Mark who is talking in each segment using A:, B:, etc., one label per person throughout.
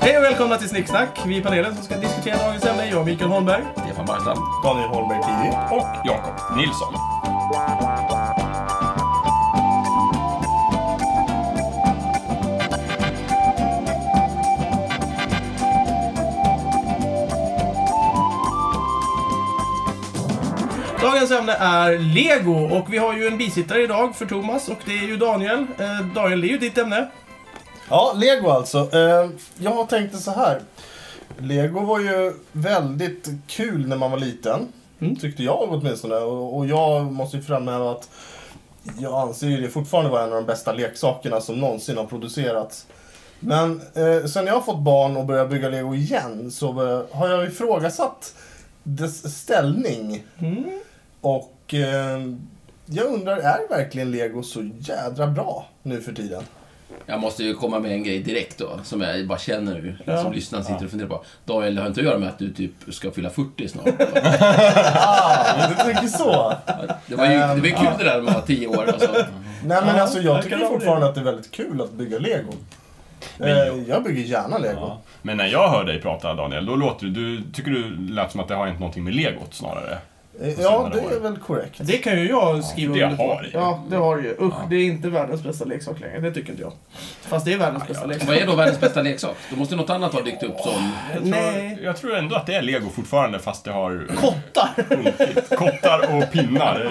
A: Hej och välkomna till Snicksnack. Vi i panelen som ska diskutera dagens ämne är jag, Mikael Holmberg,
B: Stefan Barstam
A: Daniel Holmberg Tidning
B: och Jakob Nilsson.
A: Dagens ämne är Lego och vi har ju en bisittare idag för Thomas och det är ju Daniel. Eh, Daniel, det är ju ditt ämne.
C: Ja, Lego alltså. Eh, Jag tänkte så här. Lego var ju väldigt kul när man var liten.
A: Mm.
C: Tyckte jag åtminstone. Och och jag måste ju framhäva att jag anser ju det fortfarande vara en av de bästa leksakerna som någonsin har producerats. Men eh, sen jag har fått barn och börjat bygga Lego igen så eh, har jag ifrågasatt dess ställning.
A: Mm,
C: Och eh, jag undrar, är verkligen Lego så jädra bra nu för tiden?
B: Jag måste ju komma med en grej direkt då, som jag bara känner nu,
A: Ja.
B: som lyssnaren sitter och funderar på. Daniel, det har inte att göra med att du typ ska fylla 40 snart?
C: Ah, du tänker så?
B: Det var ju det var ju kul det där när man var 10 år och sånt.
C: Nej men
A: Ja,
C: alltså jag tycker
A: verkar
C: ju fortfarande att det är väldigt kul att bygga lego. Eh, jag bygger gärna lego.
D: Ja. Men när jag hör dig prata Daniel, då låter du, du tycker du lät som att det har hänt någonting med legot snarare.
C: Eh,
D: På
C: Ja,
D: senare
C: det är
D: år.
C: väl korrekt.
A: Det kan ju jag skriva
D: Det
A: under på.
D: har det ju.
A: Ja, det har det ju. Usch, det är inte världens bästa leksak längre. Det tycker inte jag. Fast det är världens bästa leksak.
B: Vad är då världens bästa leksak? Då måste något annat ha dykt upp som...
D: Jag tror,
A: Nej.
D: jag tror ändå att det är lego fortfarande fast det har
A: Kottar!
D: sjunkit. Kottar och pinnar.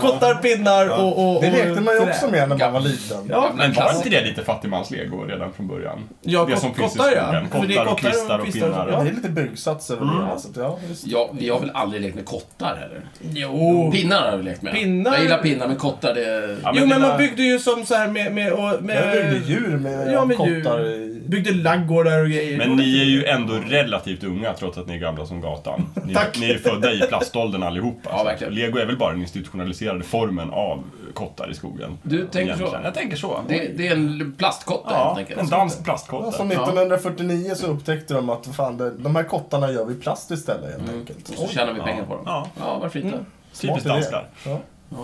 A: Kottar, pinnar och, och, och...
C: Det lekte man ju
A: trä.
C: också med när
B: Ja.
C: man var liten.
A: Ja,
B: Gamla
D: Men var
B: klass-
D: inte det lite fattigmans-lego redan från början?
A: Ja,
D: det
A: kot-
D: som finns i
A: kottar, ja.
D: skogen.
A: För det är
D: Kottar och
A: kottar och
D: kvistar och
A: kvistar och-
D: pinnar.
A: ja.
C: Det är lite bugsats över det. Alltså. Ja, visst.
B: Ja, vi har väl aldrig lekt med kottar heller?
A: Jo.
B: Pinnar har vi lekt med.
A: Pinnar-
B: Jag gillar pinnar, men kottar det...
D: Ja,
A: Oh. Jo, men
D: dina-
A: man byggde ju som så här med... med, och, med
C: Jag byggde djur med
A: Ja, med
C: kottar
A: djur.
C: i.
A: Byggde laggårdar och grejer.
D: Men ni är ju ändå relativt unga trots att ni är gamla som gatan. Ni,
A: Tack.
D: ni är födda i plaståldern allihopa.
B: Ja, verkligen.
D: Lego är väl bara den institutionaliserade formen av kottar i skogen.
B: Du tänker så?
D: Egentligen. Jag tänker så.
B: Det, det är en plastkotta helt
D: ja,
B: enkelt.
D: en dansk plastkotte.
C: Alltså 1949 så upptäckte de att fan, det- de här kottarna gör vi plast istället helt enkelt.
B: Och så tjänar vi pengar på dem.
D: Ja.
B: Ja, varför inte?
C: Smart
D: Typiskt
C: idé.
D: danskar.
C: Ja.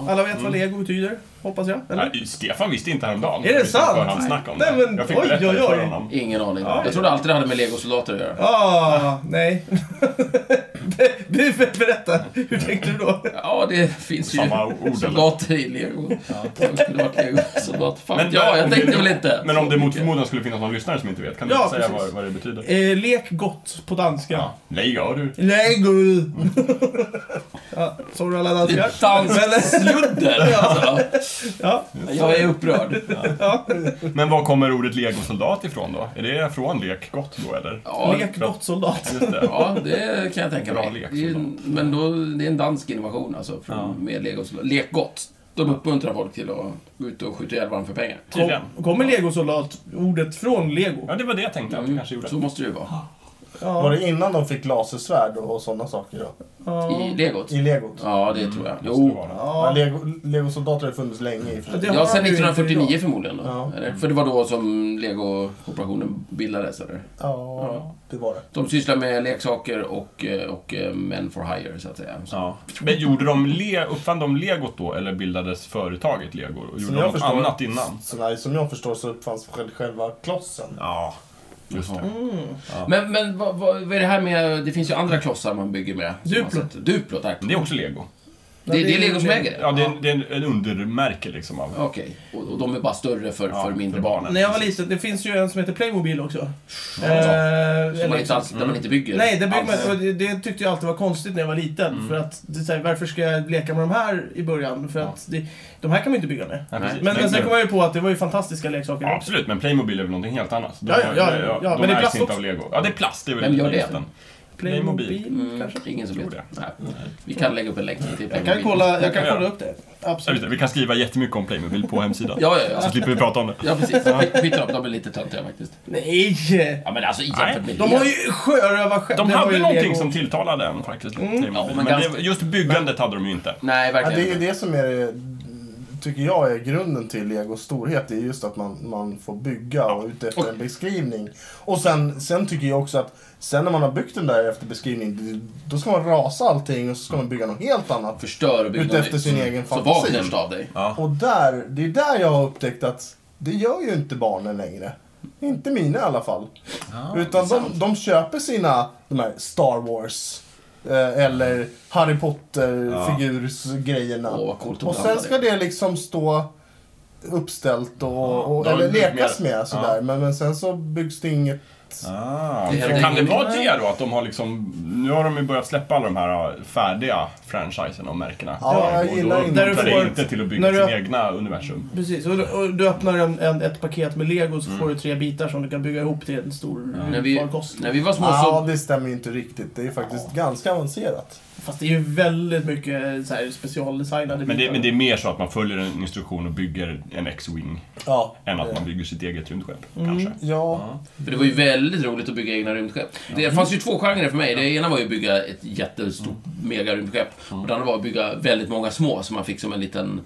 A: Alla vet vad lego betyder, hoppas jag. Eller?
D: Nej, Stefan visste inte häromdagen.
A: Är det
D: Vi fick
A: sant?
D: förhandssnack om
A: Nej,
D: det.
A: men
D: jag fick
A: oj,
D: berätta
A: oj,
D: det för
A: oj.
D: honom.
B: Ingen aning.
A: Ja, ja.
B: Jag trodde alltid det hade med legosoldater att göra.
A: Ah, nej. Be- be- Berätta, hur tänkte du då?
B: Ja, det finns ju
D: Samma ord, eller?
B: soldater i lego. Vem skulle varit legosoldat? Fan
D: Men-
B: vet ja, jag
D: om
B: tänkte
D: det-
B: väl inte.
D: Men om det mot förmodan skulle finnas någon lyssnare som inte vet, kan du
A: Ja,
D: inte säga
A: precis.
D: vad, vad det betyder?
A: Eh, lek gott på danska.
D: Ja. Nej, gör du.
A: Lego! ja, sorry alla
B: Det
A: danskar.
B: är dansk sludder. Alltså.
A: Ja,
B: Jag är upprörd.
D: Men var kommer ordet legosoldat ifrån då? Är det från lek gott då eller?
B: Ja,
A: lek gott soldat.
D: Just det.
B: ja, det kan jag tänka
D: Bra
B: mig.
D: lek,
B: Det är ju-
D: soldat.
B: Men då, det är en dansk innovation alltså, från, med legosoldater. Lek gott. De uppmuntrar folk till att gå ut och skjuta ihjäl varandra för pengar.
D: Tydligen.
A: Kommer legosoldat ordet från lego?
D: Ja, det var det jag tänkte att du kanske gjorde.
B: Så måste det ju vara.
C: Var
A: Ja.
C: det innan de fick lasersvärd och sådana saker då?
A: ja.
B: I legot.
C: I legot?
B: Ja, det tror jag.
D: Mm. Måste det
B: Jo,
D: vara.
C: Ja,
A: ja.
C: lego, legosoldater har ju funnits länge i och för sig.
A: Det har
B: Ja, sen
A: vi ju inte
B: 1949
A: idag.
B: förmodligen. Då.
C: Ja.
B: Eller? För det var då som Lego-kooperationen bildades. Eller?
C: Ja, det var det.
B: De sysslar med leksaker och, eh, och eh, men for hire, så att säga. Så,
D: Ja. Men gjorde de le, uppfann de legot då eller bildades företaget lego? Och gjorde
C: Som
D: de
C: jag
D: något
C: förstår-
D: annat innan?
C: Så nej, som jag förstår så uppfanns själ- själva klossen.
D: Ja, just det.
B: Men, men vad, vad, vad är det här med... Det finns ju andra klossar man bygger med. som
A: Duplo.
B: man sätter- Duplo, tack.
D: Men det är också lego.
B: Det, det,
A: det är
B: är Lego som
A: Lego.
B: äger det?
D: Ja, det är, en- det är en, en undermärke liksom av...
B: Okej. Och, och de är bara större för,
D: Ja,
B: för mindre
D: för
B: barn.
A: När jag var liten, det finns ju en som heter Playmobil också.
B: Ja.
A: Eh,
B: Som man
A: eller-
B: inte alls, där man inte bygger
A: Nej, det, bygger
B: alls.
D: Alltså-
A: man, och det, det tyckte jag alltid var konstigt när jag var liten.
D: Mm.
A: För att, det, är så här, varför ska jag leka med de här i början? För
D: Ja.
A: att det, de här kan man ju inte bygga med.
D: Nej,
B: Nej.
D: precis.
A: Men, men sen
D: Nej,
A: kom jag ju på att det var ju fantastiska leksaker.
D: Ja, absolut, men Playmobil är väl någonting helt annat. De,
A: Ja, ja, ja, ja,
D: de
A: men det är
D: ägs
A: plast
D: inte
A: också.
D: av lego. Ja, det är plast. Det är väl
B: Vem gör det?
D: liten. Playmobil.
B: Mm,
A: kanske?
B: Ingen som
D: Tror
B: vet. Nej. Vi kan lägga upp en länk till
A: Jag kan, kolla, jag kan
D: Ja.
A: kolla upp det.
D: Ja, just det.
A: Absolut.
D: Vi kan skriva jättemycket om Playmobil på hemsidan.
B: Ja, ja,
D: Så
B: ja.
D: slipper vi prata om det.
B: Ja, precis. Skit i dem, de är lite töntiga faktiskt.
A: Nej!
B: Ja, men alltså jämfört med
A: De har ju sjörövarskepp.
D: De
A: Det var
D: hade
A: ju
D: någonting
A: Lego. Mm.
D: som tilltalade en faktiskt. Playmobil.
B: Ja, men
D: men
B: ganska-
D: det, just byggandet hade de ju inte.
B: Nej,
C: Ja,
B: verkligen
C: det är
B: inte.
C: det som är, tycker jag är grunden till legos storhet. Det är just att man, man får bygga och ut efter en beskrivning. Och sen, sen tycker jag också att sen när man har byggt den där efter beskrivning, det- då ska man rasa allting och så ska man bygga något helt annat.
B: Förstör och bygga
C: Utefter
B: någonting.
C: sin egen
B: Så
C: fantasi.
B: Wagners av dig.
C: Och där, det är där jag har upptäckt att det gör ju inte barnen längre. Inte mina i alla fall. Utan de, de köper sina de här Star Wars eh, eller Harry Potter-figursgrejerna.
B: Åh, vad coolt att
C: och sen
B: blanda
C: ska det liksom stå uppställt och, och
D: Ja,
C: eller
D: de bygger
C: lekas
D: mer-
C: med sådär. Men, men sen så byggs det inget.
D: Ah,
B: Det händer
D: så kan det
B: ingenting.
D: vara det då? Att de har liksom, nu har de ju börjat släppa alla de här ah, färdiga franchisen och märkena.
C: Ja, jag gillar
D: och då
C: inte-
D: uppmuntrar
A: När du får-
D: det inte till att
A: när
D: bygga
A: du-
D: sitt egna universum.
A: Precis, och, du- och du öppnar en, en, ett paket med lego så
D: Mm.
A: får du tre bitar som du kan bygga ihop till en stor
B: När
A: vi...
B: vi,
A: kost.
B: när vi var små
C: Ja,
B: så...
C: det stämmer ju inte riktigt. Det är faktiskt ganska avancerat.
A: Fast det är ju väldigt mycket så här, specialdesignade
D: Men det,
A: bitar.
D: men det är mer så att man följer en instruktion och bygger en X-Wing
C: Ja.
D: än att
C: det-
D: man bygger sitt eget rymdskepp,
A: Mm.
D: kanske.
C: Ja,
B: För det var ju väldigt roligt att bygga egna rymdskepp. Det fanns ju två genrer för mig. Det ena var ju att bygga ett jättestort megarymdskepp. Och det andra var att bygga väldigt många små som man fick som en liten...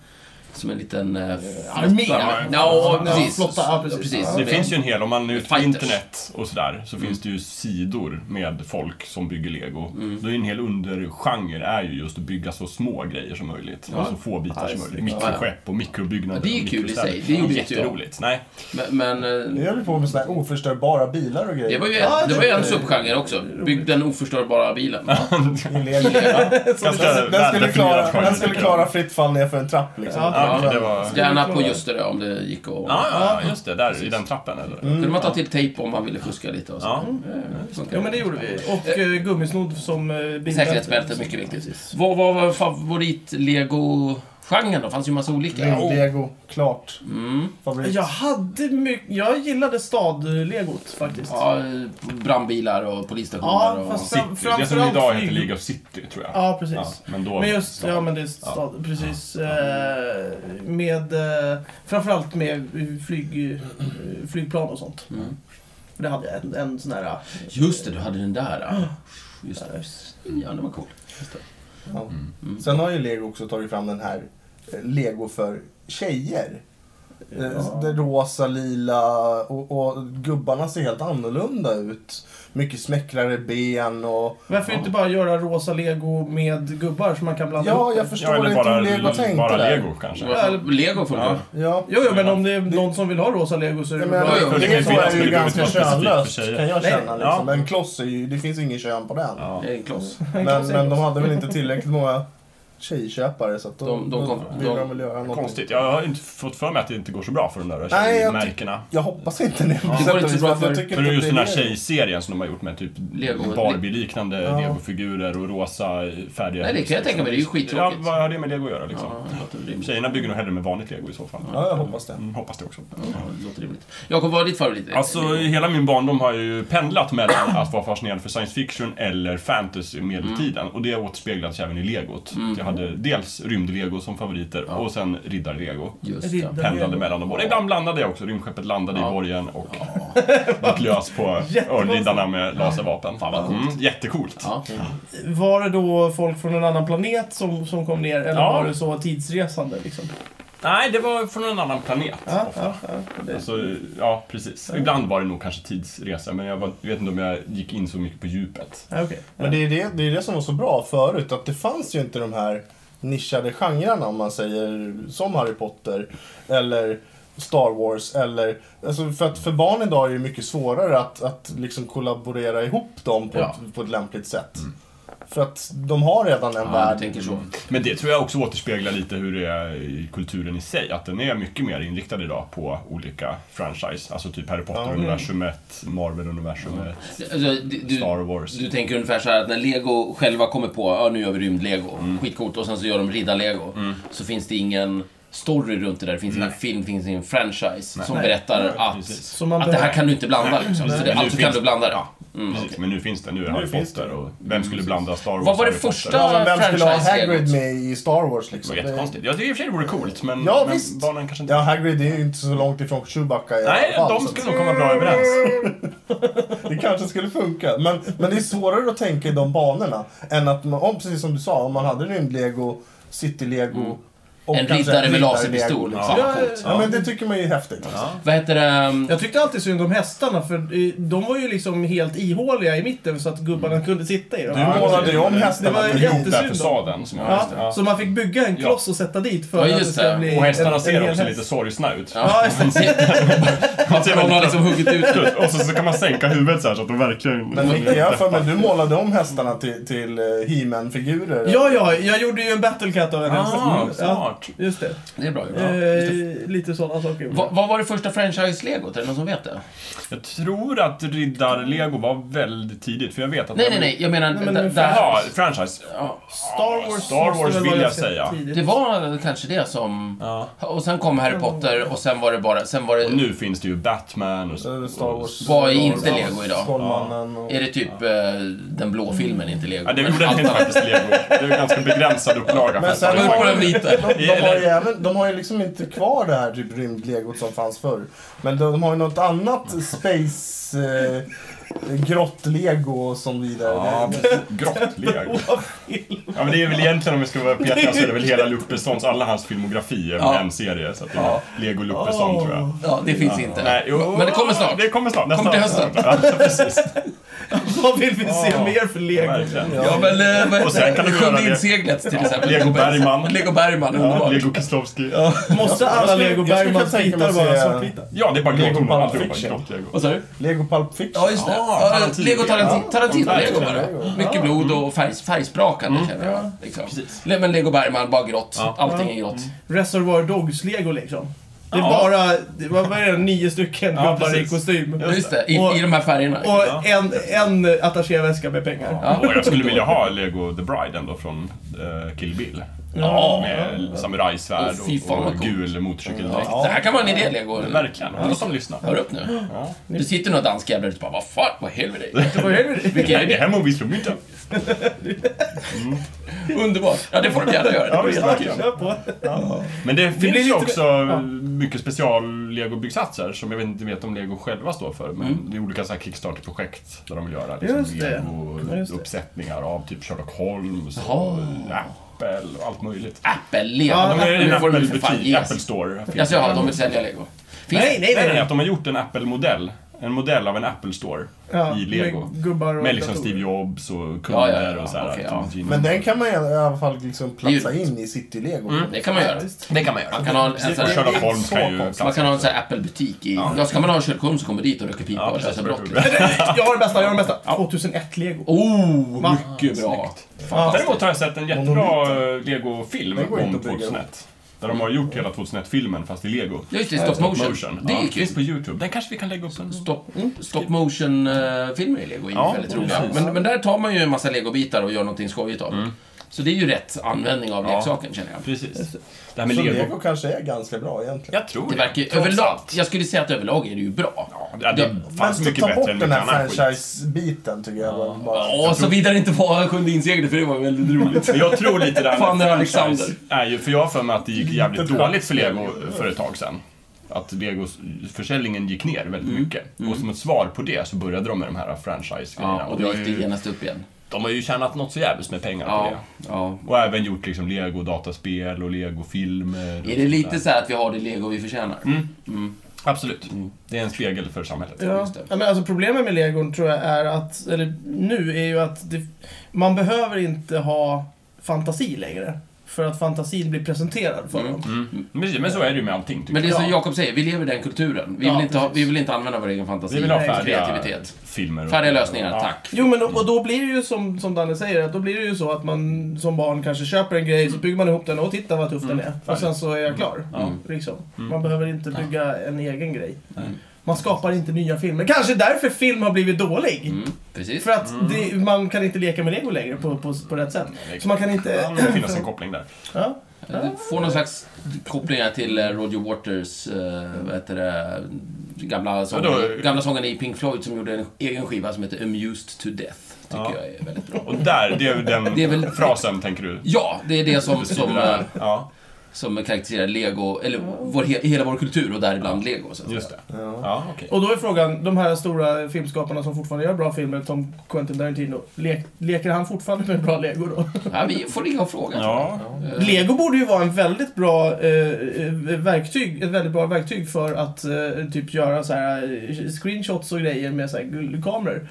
B: Som en liten... eh,
A: armé.
B: flotta.
A: Ja,
B: Ja, precis.
A: flotta. Ja, precis.
D: Det
B: Med-
D: finns ju en hel, om man är ute på
B: Fighters. Mm.
D: internet och sådär, så finns det ju sidor med folk som bygger lego.
B: Mm.
D: Då är en hel undergenre är ju just att bygga så små grejer som möjligt. Och så få bitar
B: Ja,
D: som
B: just
D: möjligt.
B: det.
D: Mikroskepp och mikrobyggnader.
B: Ja, det är ju
D: och
B: kul i
D: mikrostäder.
B: sig. Det gjorde ju inte jag.
D: jätteroligt. Nej.
B: Men, men eh,
C: nu höll vi på med sådana här oförstörbara bilar och grejer.
B: det var ju
A: Ja,
B: en, det var ju
A: det-
B: en subgenre också. Bygg den oförstörbara bilen.
C: I lego. Den
D: Ganska
C: skulle,
D: väldefinierad
C: klara,
D: genre,
C: den skulle
D: tycker jag.
C: klara fritt fall ner för en trapp liksom.
A: Ja.
D: Ja, okej, det var... Ja,
B: Gärna på just det där, om det gick att...
D: ja, ja, just det. Där, i den trappen eller?
C: Mm.
B: kunde man ta till tejp om man ville fuska lite och så.
D: Ja.
B: Eh, funkar.
A: Ja, men det gjorde vi. Och eh, gummisnodd som eh, bindel.
B: Säkerhetsbälte är mycket viktigt. Vad vad var favorit-lego-genren då? Det fanns ju massa olika.
C: Lego, Lego, klart.
B: Mm.
C: Favorit.
A: Jag hade mycket... Jag gillade stad-legot faktiskt.
B: Ja, eh, brandbilar och polisstationer
A: Ja,
B: och...
A: fast- Fram-
D: City. Det som
A: framförallt
D: idag heter
A: flyg-
D: League of City, tror jag.
A: Ja, precis.
D: men då...
A: Men just, ja men det är stad, precis. Eh, med, eh, framförallt med flyg, eh, flygplan och sånt.
B: Mm.
A: För det hade jag en, en sån här... eh,
B: Just det, du hade den där. ja. Just
C: Eh,
B: det. Ja, den var cool. Just det.
C: Ja.
D: Mm.
C: Sen har ju Lego också tagit fram den här eh, Lego för tjejer. Ja. Det rosa, lila och, och gubbarna ser helt annorlunda ut. Mycket smäckrare ben och...
A: Varför inte bara göra rosa lego med gubbar som man kan blanda
C: Ja,
A: ihop?
C: jag
D: Ja,
C: förstår
D: eller
C: inte hur
D: bara,
C: Lego tänkte
D: bara
C: där.
D: Lego kanske.
B: Lego funkar.
C: Ja.
A: Jo, jo, men om det är någon som vill ha rosa lego så är det
C: Jag
A: väl bra.
C: menar,
B: Ja, ja, det
C: det, det,
B: kan ju
C: så
D: finnas
C: är ju
D: Lego
C: ganska
D: som är specifikt för
C: könlöst
D: tjejer.
C: kan jag
A: Nej,
C: känna.
D: ja.
C: Liksom. En kloss är ju, det finns ingen kön på den.
D: Ja.
B: Det är en kloss.
C: Men, men de hade väl inte tillräckligt många tjejköpare så att då,
B: De- de kom-
C: då ville
B: de-
C: de väl göra någonting.
D: Konstigt. Jag har inte fått för mig att det inte går så bra för de där
C: Nej, jag ty-
D: tjejmärkena.
C: Jag hoppas inte det.
B: Det går inte så bra för-
D: För det är just den här
C: det-
D: tjejserien som de har gjort med typ
B: Lego.
D: Barbie-liknande
C: Ja.
D: legofigurer och rosa eh, färdiga liksom.
B: Nej, det kan jag tänka mig. Det är ju
D: Ja,
B: skittråkigt.
D: vad har det med lego att göra liksom?
B: Ja, det låter rimligt.
D: Tjejerna bygger nog hellre med vanligt lego i så fall.
C: Ja, jag hoppas det.
D: Mm, hoppas det också.
B: Ja, det låter rimligt. Jakob, vad är ditt favorit?
D: Alltså, i hela min barndom har jag ju pendlat mellan att vara fascinerad för science fiction eller fantasy i medeltiden.
B: Mm.
D: Och det återspeglas även i legot. Jag hade dels rymdlego som favoriter och sen riddarlego.
B: Just det.
D: pendlade mellan dem båda. Ibland blandade jag också. Rymdskeppet landade
B: Ja.
D: i borgen och gick lös på örnriddarna med laservapen. Fan vad Mm, jättecoolt.
B: Ja.
A: Var det då folk från en annan planet som, som kom ner? Eller
D: Ja.
A: var det så tidsresande liksom?
D: Nej, det var från en annan planet.
A: Ja,
D: ofta.
A: ja, ja. Det-
D: Alltså, ja, precis. Ibland var det nog kanske tidsresa, men jag var, jag vet inte om jag gick in så mycket på djupet.
A: ja, okej.
C: Men det är det, det är det som var så bra förut, att det fanns ju inte de här nischade genrerna om man säger som Harry Potter eller Star Wars eller... Alltså för att för barn idag är det ju mycket svårare att, att liksom kollaborera ihop dem på,
B: Ja. Mm.
C: ett, på ett lämpligt sätt. För att de har redan en
B: Ja, du
C: värld.
B: tänker så.
D: Men det tror jag också återspeglar lite hur det är i kulturen i sig. Att den är mycket mer inriktad idag på olika franchise. Alltså typ Harry Potter-universumet, Marvel-universumet,
B: Alltså, du, du-
D: Star Wars.
B: Du tänker ungefär så här att när Lego själva kommer på, ja nu gör vi rymdlego, skitcoolt, och sen så gör de riddar-lego. Så finns det ingen story runt det där, det finns ingen film, det finns ingen franchise som
A: Nej.
B: berättar att,
D: precis.
A: Så man
B: att det här
A: behöver-
B: kan du inte blanda liksom. Så
D: Nej.
B: det,
D: Men nu
B: alltså kan
D: finns-
B: du blanda det, ja. Mm,
D: Precis,
B: okej.
D: men nu finns det. Nu är Harry
C: finns det.
D: Potter och vem skulle blanda Star Wars
B: Vad var det
D: och Harry Potter?
B: första?
C: Ja, men vem skulle ha
B: franchise
C: Hagrid
B: Legos.
C: med i Star Wars
D: Det var
C: liksom?
D: jättekonstigt. Ja, det i och för sig vore coolt, men,
C: Ja,
D: men
C: visst.
D: barnen kanske inte...
C: Ja, Hagrid är ju inte så långt ifrån Chewbacca i
D: Nej,
C: alla fall,
D: de
C: så
D: skulle nog komma bra överens.
C: Det kanske skulle funka. Men, men det är svårare att tänka i de banorna. Än att man, om, precis som du sa, om man hade rymdlego, citylego, Och
B: En
C: kanske
B: riddare med
C: riddar-
B: laserpistol.
C: lego,
D: Ja.
C: liksom. Ja, men det tycker man ju är häftigt. Också.
B: Vad heter det?
A: Jag tyckte alltid synd om hästarna för eh, de var ju liksom helt ihåliga i mitten så att gubbarna kunde sitta i dem.
D: Du
C: Ja, målade ju om hästarna
A: det var
C: på
D: Den
A: jättesynd
D: gjorda
A: om.
D: fasaden som jag
A: Ja,
D: visste. Ja.
A: Så man fick bygga en kloss och sätta dit för
B: Ja,
A: att det
B: just
A: ska
B: det.
A: bli
D: Och
A: en-
D: hästarna
A: en
D: ser
A: hel
D: också
A: häst.
D: lite sorgsna ut.
A: Ja, just
B: Man ser, man ser någon har liksom huggit ut
D: Absolut. Och så, så kan man sänka huvudet så här så att de verkligen...
C: Men Micke, jag har för mig att du målade om hästarna till, till eh, He-Man-figurer.
A: Ja, ja, jag gjorde ju en Battlecat av en häst.
D: Ah,
A: Mm, ja,
D: smart.
A: just det.
B: Det är bra ju.
A: Eh, lite sådana saker.
B: Va, vad var det första franchise-legot? Är det någon som vet det?
D: Jag tror att riddar-lego var väldigt tidigt, för jag vet att...
B: Nej, nej, nej. Jag menar...
A: Nej, men
B: där-
A: nu-
B: där-
D: Jaha, franchise.
B: ja,
A: Star Wars,
D: Star
A: måste väl
D: Wars
A: vara
D: vill jag
A: ganska
D: säga.
A: tidigt.
B: det var kanske det som...
D: Ja.
B: Och sen kom Harry Potter och sen var det bara... Sen var
D: Och
B: det...
D: nu finns det ju Batman och...
C: Eh, Star Wars.
B: Vad är inte
C: Star Wars,
B: lego idag?
C: Stålmannen och...
B: Är det typ eh, den blå filmen, inte lego?
D: Ja, det
B: men
D: gjorde
B: allt
D: inte
B: annat.
D: faktiskt lego. Det är en ganska begränsad upplaga.
C: Men sen
B: Det
D: faktiskt.
B: var bara en liten.
C: De, de, har ju även, de har ju liksom inte kvar det här typ rymdlegot som fanns förr. Men de, de har ju något annat space... Eh, grottlego och sånt vidare.
D: Ja, precis. Grottlego. Ja, men det är väl egentligen om vi ska vara petiga så är det väl hela Luppessons, alla hans filmografier
B: Ja.
D: med en serie. Så att det är Lego Luppesson tror jag.
B: Ja, det finns inte.
D: Nej, jo.
B: Men det kommer snart.
D: Det kommer snart. Nästa
B: Kommer till hösten.
D: Ja, precis.
A: Vad vill vi se
D: Ja,
A: mer för lego?
D: Verkligen.
B: Ja, men eh, vad
D: Och sen
B: heter
D: kan
B: det?
D: du göra
B: Sjunde
D: det.
B: inseglet till exempel.
D: Lego Bergman.
B: Lego Bergman,
D: Ja,
B: underbart.
D: Lego Kieslowski.
A: Måste alla
C: skulle-
A: lego
C: jag skulle kunna
A: Bergmans
C: tänka
A: bitar
C: mig att
A: vara
C: se-
A: svartvita?
D: Ja, det är bara
C: Lego
D: Lego.
C: Pulp
D: Alltihopa är
C: Fiction.
D: grottlego.
B: Vad sa du?
C: Lego Pulp Fiction.
B: Ja, just det.
D: Ah,
B: ja,
D: Tarantino.
B: Lego Tarantino,
D: Ja,
B: Tarantino Lego
D: Tarantino.
B: bara. Mycket blod och färg, färgsprakande känner jag. Liksom.
D: Mm. Precis.
B: Le- Men Lego Bergman, bara grått.
D: Ja. Mm.
B: Allting är grått.
A: Reservoir Dogs-lego liksom. Det är
D: Ja.
A: bara, det var, vad är det, nio stycken
D: Ja,
A: gubbar i
D: precis.
A: kostym.
D: Just
B: Just det, i,
A: Och-
B: i de här färgerna.
A: Och en, en attachéväska med pengar.
B: Ja.
D: Och jag skulle vilja ha Lego The Bride ändå från eh, Kill Bill.
B: Ja.
D: Med samurajsvärd
B: Åh, fy fan,
D: och,
B: vad
D: och
B: coolt.
D: gul motorcykeldräkt.
B: Det här kan vara en idé, Lego.
D: Verkligen. Alla som lyssnar.
B: Hör upp nu.
D: Ja.
B: Det sitter några danska jävlar ute och bara vad fan, vad helvete.
A: Vad är det?
B: Vilken
D: Nej, det
B: idé.
D: här Movies-klubben.
B: Underbart. Ja, det får de gärna göra. Det är jättekul.
A: Kör på.
D: Men det finns
A: blir
D: ju
A: lite-
D: också mycket special-lego-byggsatser som jag vet inte vet om lego själva står för. Men det är olika så här Kickstarter-projekt där de vill göra liksom,
A: Just det. Just det.
D: lego-uppsättningar av typ Sherlock Holmes och
B: Jaha.
D: Apple och allt möjligt.
B: Apple, Lego.
A: Ja,
B: De
D: De
B: är
D: är en
B: nu får de ju för fan
D: Apple-butik,
B: ge
D: Apple
B: sig.
D: Store.
B: Alltså, ja, de vill sälja Lego. Finns
A: Nej, nej,
D: Nej, nej,
A: nej.
D: att de har gjort en Apple-modell. En modell av en Apple Store
A: Ja,
D: i Lego.
A: med gubbar och
D: Med liksom
A: datorer.
D: Steve Jobs och kunder
B: Ja, ja, ja,
D: och så här.
B: okej, ja.
D: Gene-
C: Men den kan man i alla fall liksom platsa
B: Det är ju- Mm.
C: in i city-lego.
B: Det kan man göra. Det kan man göra. Man kan ha en, en sån
D: Och
B: här,
D: Alltså, Sherlock
C: Det är
D: Holmes
C: så
D: kan ju...
C: konstigt.
B: man kan ha en sån här Apple-butik i... Ja, ska man ha en Sherlock Holmes som kommer dit och röker pipa
D: Ja,
B: och
D: precis.
B: läser brott liksom.
A: Jag har det bästa, jag har det bästa. 2001-lego.
B: Oh,
A: Va?
B: mycket bra.
A: Ja.
D: Däremot har jag sett en jättebra eh, Lego-film
C: Den går
D: om
C: inte att bygga
D: 2001. Där de har gjort hela 2001-filmen fast i Lego.
B: Ja, Just det, stop motion. Det är
D: ja,
B: ju
D: finns på
B: kul.
D: YouTube. Den kanske vi kan lägga upp en...
B: Stop, stop motion-filmer i Lego är ju
D: Ja,
B: väldigt
D: precis.
B: roliga. Men, men där tar man ju en massa legobitar och gör någonting skojigt av dem. Så det är ju rätt användning av
D: Ja.
B: leksaken, känner jag.
D: Precis. Det här med
C: Så
D: Lego.
C: lego kanske är ganska bra egentligen.
D: Jag tror
B: Det verkar ju
D: Trots
B: överlag...
D: allt.
B: Jag skulle säga att överlag är det ju bra.
D: Ja, det
B: Men
D: fanns
C: Men
D: mycket
C: ta
D: bättre
C: bort
D: än
C: den
D: mycket
C: här
D: annan skit.
C: franchise-biten tycker jag. väl Bara.
B: Ja, såvida det inte var Sjunde inseglet, för det var väldigt roligt.
D: Men jag tror lite det här
B: Fan, det är
D: med franchise
B: Alexander.
D: är ju, för jag har för mig att det gick jävligt
C: Lite
D: dåligt för Lego för ett tag sedan. Att Legos försäljningen gick ner väldigt
B: Mm.
D: mycket. Och som ett svar på det så började de med de här franchise-grejerna.
B: Ja, och
D: det
B: då
D: har
B: gick det
D: ju-
B: genast upp igen.
D: de har ju tjänat något så jävligt med pengar på
B: Ja,
D: det.
B: ja.
D: Och även gjort liksom Lego-dataspel och Lego-filmer. och
B: Är det
D: sånt
B: lite
D: där.
B: så här att vi har det lego vi förtjänar?
D: Mm.
B: Mm.
D: Absolut. Det är en spegel för samhället.
A: Ja.
B: Just det.
A: Ja, men alltså problemet med legon tror jag är att, eller nu, är ju att det, man behöver inte ha fantasi längre. För att fantasin blir presenterad för
B: Mm.
A: dem.
D: Mm. Men men så är det ju med allting, tycker
B: Men det är
D: jag.
B: som Jakob säger, vi lever i den kulturen. Vi
A: Ja,
B: vill, inte ha,
A: precis.
B: vi vill inte använda vår egen fantasi.
D: Vi vill ha
B: och
D: färdiga
B: kreativitet.
D: filmer. och-
B: Färdiga lösningar,
D: Ja.
B: tack.
A: Jo men och och då blir det ju som, som Danne säger, att då blir det ju så att man som barn kanske köper en grej, så
B: Mm.
A: bygger man ihop den och tittar vad tuff den är. Och sen så är jag klar. Liksom.
B: Mm.
A: Man behöver inte bygga en egen grej. Man skapar inte nya filmer. Kanske därför film har blivit dålig.
B: Mm, precis.
A: För att det, man kan inte leka med lego längre på, på, på rätt sätt.
D: det-
A: Så man kan
D: Det
A: inte...
D: kan finnas en koppling där.
A: Ja.
B: Du får någon slags kopplingar till eh, Roger Waters, eh, vad heter det, gamla sången,
D: Vadå?
B: gamla sången i Pink Floyd som gjorde en egen skiva som heter Amused to Death. Tycker
D: Ja.
B: jag är väldigt bra.
D: Och där, det är ju den
B: Det är väl-
D: frasen, tänker du?
B: Ja, det är det som... som eh,
D: Ja.
B: Som karaktäriserar lego, eller vår, he- hela vår kultur och däribland lego. Så att
D: Just
B: säga.
D: det. Ja, okej.
A: Och då är frågan, de här stora filmskaparna som fortfarande gör bra filmer, som Quentin Tarantino, le- leker han fortfarande med bra lego då?
B: Ja, vi får ringa och fråga. Eh,
D: Ja.
A: Lego borde ju vara en väldigt bra eh, eh, verktyg, ett väldigt bra verktyg för att eh, typ göra så här eh, screenshots och grejer med så här gul- kameror.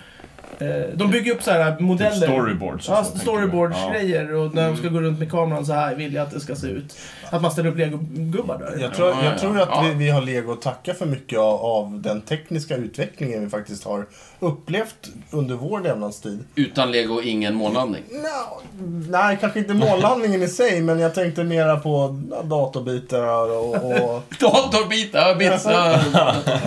A: Eh, de bygger upp så här
D: Typ
A: modeller.
D: storyboards. och
A: Ja,
D: så, tänker du. Ja. Mm.
A: storyboards-grejer och när de ska gå runt med kameran så här vill jag att det ska se ut. Att man ställer upp legogubbar där.
C: Jag tror,
B: Ja, ja,
C: jag tror att
B: ja.
C: vi, vi har lego att tacka för mycket av, av den tekniska utvecklingen vi faktiskt har upplevt under vår levnadstid.
B: Utan lego, ingen månlandning.
C: No, nej, kanske inte mållandningen i sig, men jag tänkte mera på ja, datorbitar och, och,
B: Datorbitar, bitsar,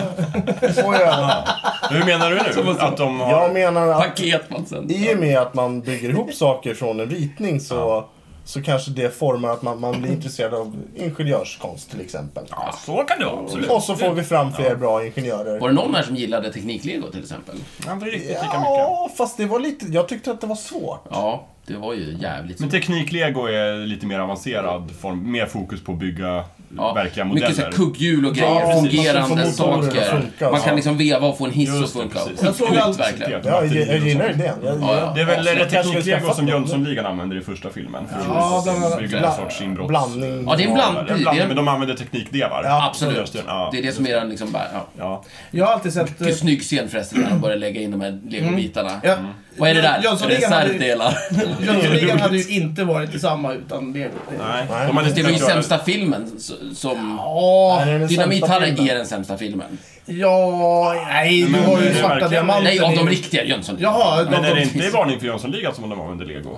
C: och övrigt.
D: Hur menar du nu? Att de
C: Jag
D: har...
C: menar att
B: paket man sen.
C: i och med att man bygger ihop saker från en ritning så, så kanske det formar att man, man blir intresserad av ingenjörskonst till exempel.
D: Ja, så kan det vara. Absolut.
C: Och så får vi fram fler bra ingenjörer.
B: Var det någon här som gillade tekniklego till exempel?
D: Ja, Inte riktigt lika mycket.
C: Ja, fast det var lite... Jag tyckte att det var svårt.
B: Ja, det var ju jävligt
D: Men
B: svårt.
D: tekniklego är lite mer avancerad form. Mer fokus på att bygga eh,
B: Ja,
D: verkliga modeller.
B: mycket så här kugghjul och
C: Ja,
B: grejer,
C: precis. Man
B: fungerande
C: ska få motorerna att
B: saker.
C: funka,
B: man kan
C: ja.
B: liksom veva och få en hiss
D: Just
B: att
D: det,
B: funka.
D: precis.
A: Jag såg allt-
B: Skitcoolt verkligen.
C: Ja, jag, jag gillar idén. Jag,
B: Ja, ja.
C: jag,
D: Det är väl
B: Avsnitt.
D: det
C: kanske vi
D: tekniklego
C: skaffar
D: som
C: dem.
D: Jönssonligan använder i första filmen. För
A: Ja,
D: att
A: bland annat.
D: bygga en
C: Bla-
D: sorts inbrotts...
C: blandning.
B: Ja, det är en
D: Ja,
B: blandning. Det
D: bland- Men
B: är,
D: de använder teknikdelar.
C: Ja.
B: absolut.
D: Ja.
B: Det är det som är den liksom bara, ja.
D: Ja.
A: Jag har alltid sett... eh,
B: Vilken snygg scen förresten när de börjar lägga in de här legobitarna.
A: Ja.
D: Mm.
B: Vad är det där?
A: Jönssonligan
B: Är det
A: hade ju-
B: Reservdelar?
A: Jönssonligan hade ju inte varit detsamma utan lego.
D: Nej.
C: Nej.
D: De hade
B: Det var ju
D: kunnat göra-
B: sämsta filmen s- som...
A: Ja,
C: Är det den
B: Dynamit
C: sämsta
B: Harry
C: filmen?
B: är den sämsta filmen.
A: ja, nej, du
D: Men,
A: har ju
D: eh,
A: svarta
D: verkligen-
A: diamanten.
B: Nej, av
A: i-
B: de riktiga Jönssonligan.
A: Jaha, de,
D: Men är det
A: de,
D: inte i Varning för Jönssonligan som de använder lego?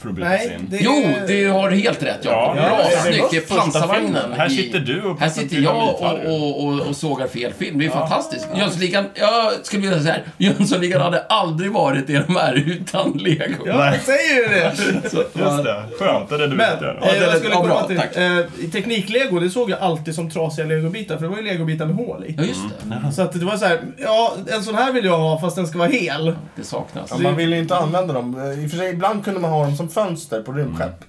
D: För att bryta sig
A: nej.
D: in?
A: Det,
B: Jo, du har helt rätt Jakob.
D: Ja,
B: Bra,
D: det är
B: snyggt. Det är
D: första filmen.
B: pansarvagnen.
D: Här
B: i-
D: sitter du och
B: Här sitter jag och,
D: presenterar Harry.
B: och, och, och sågar fel film. Det är fantastiskt. Jönssonligan, jag skulle vilja säga så här. Jönssonligan hade aldrig varit det de är utan lego.
A: Ja, jag säger ju det.
B: Så,
D: Just det, skönt. Det är det du
A: Men,
D: vet göra.
A: eh,
B: det-
A: jag skulle
B: ja,
A: komma
B: bra,
A: till,
B: tack.
A: eh, i tekniklego, det såg jag alltid som trasiga legobitar, för det var ju legobitar med hål i.
B: Ja, just det.
A: Så att det var så här, ja, en sån här vill jag ha fast den ska vara hel.
B: Det saknas.
C: Ja, man ville ju inte använda dem. Eh, I och för sig, ibland kunde man ha dem som fönster på rymdskepp.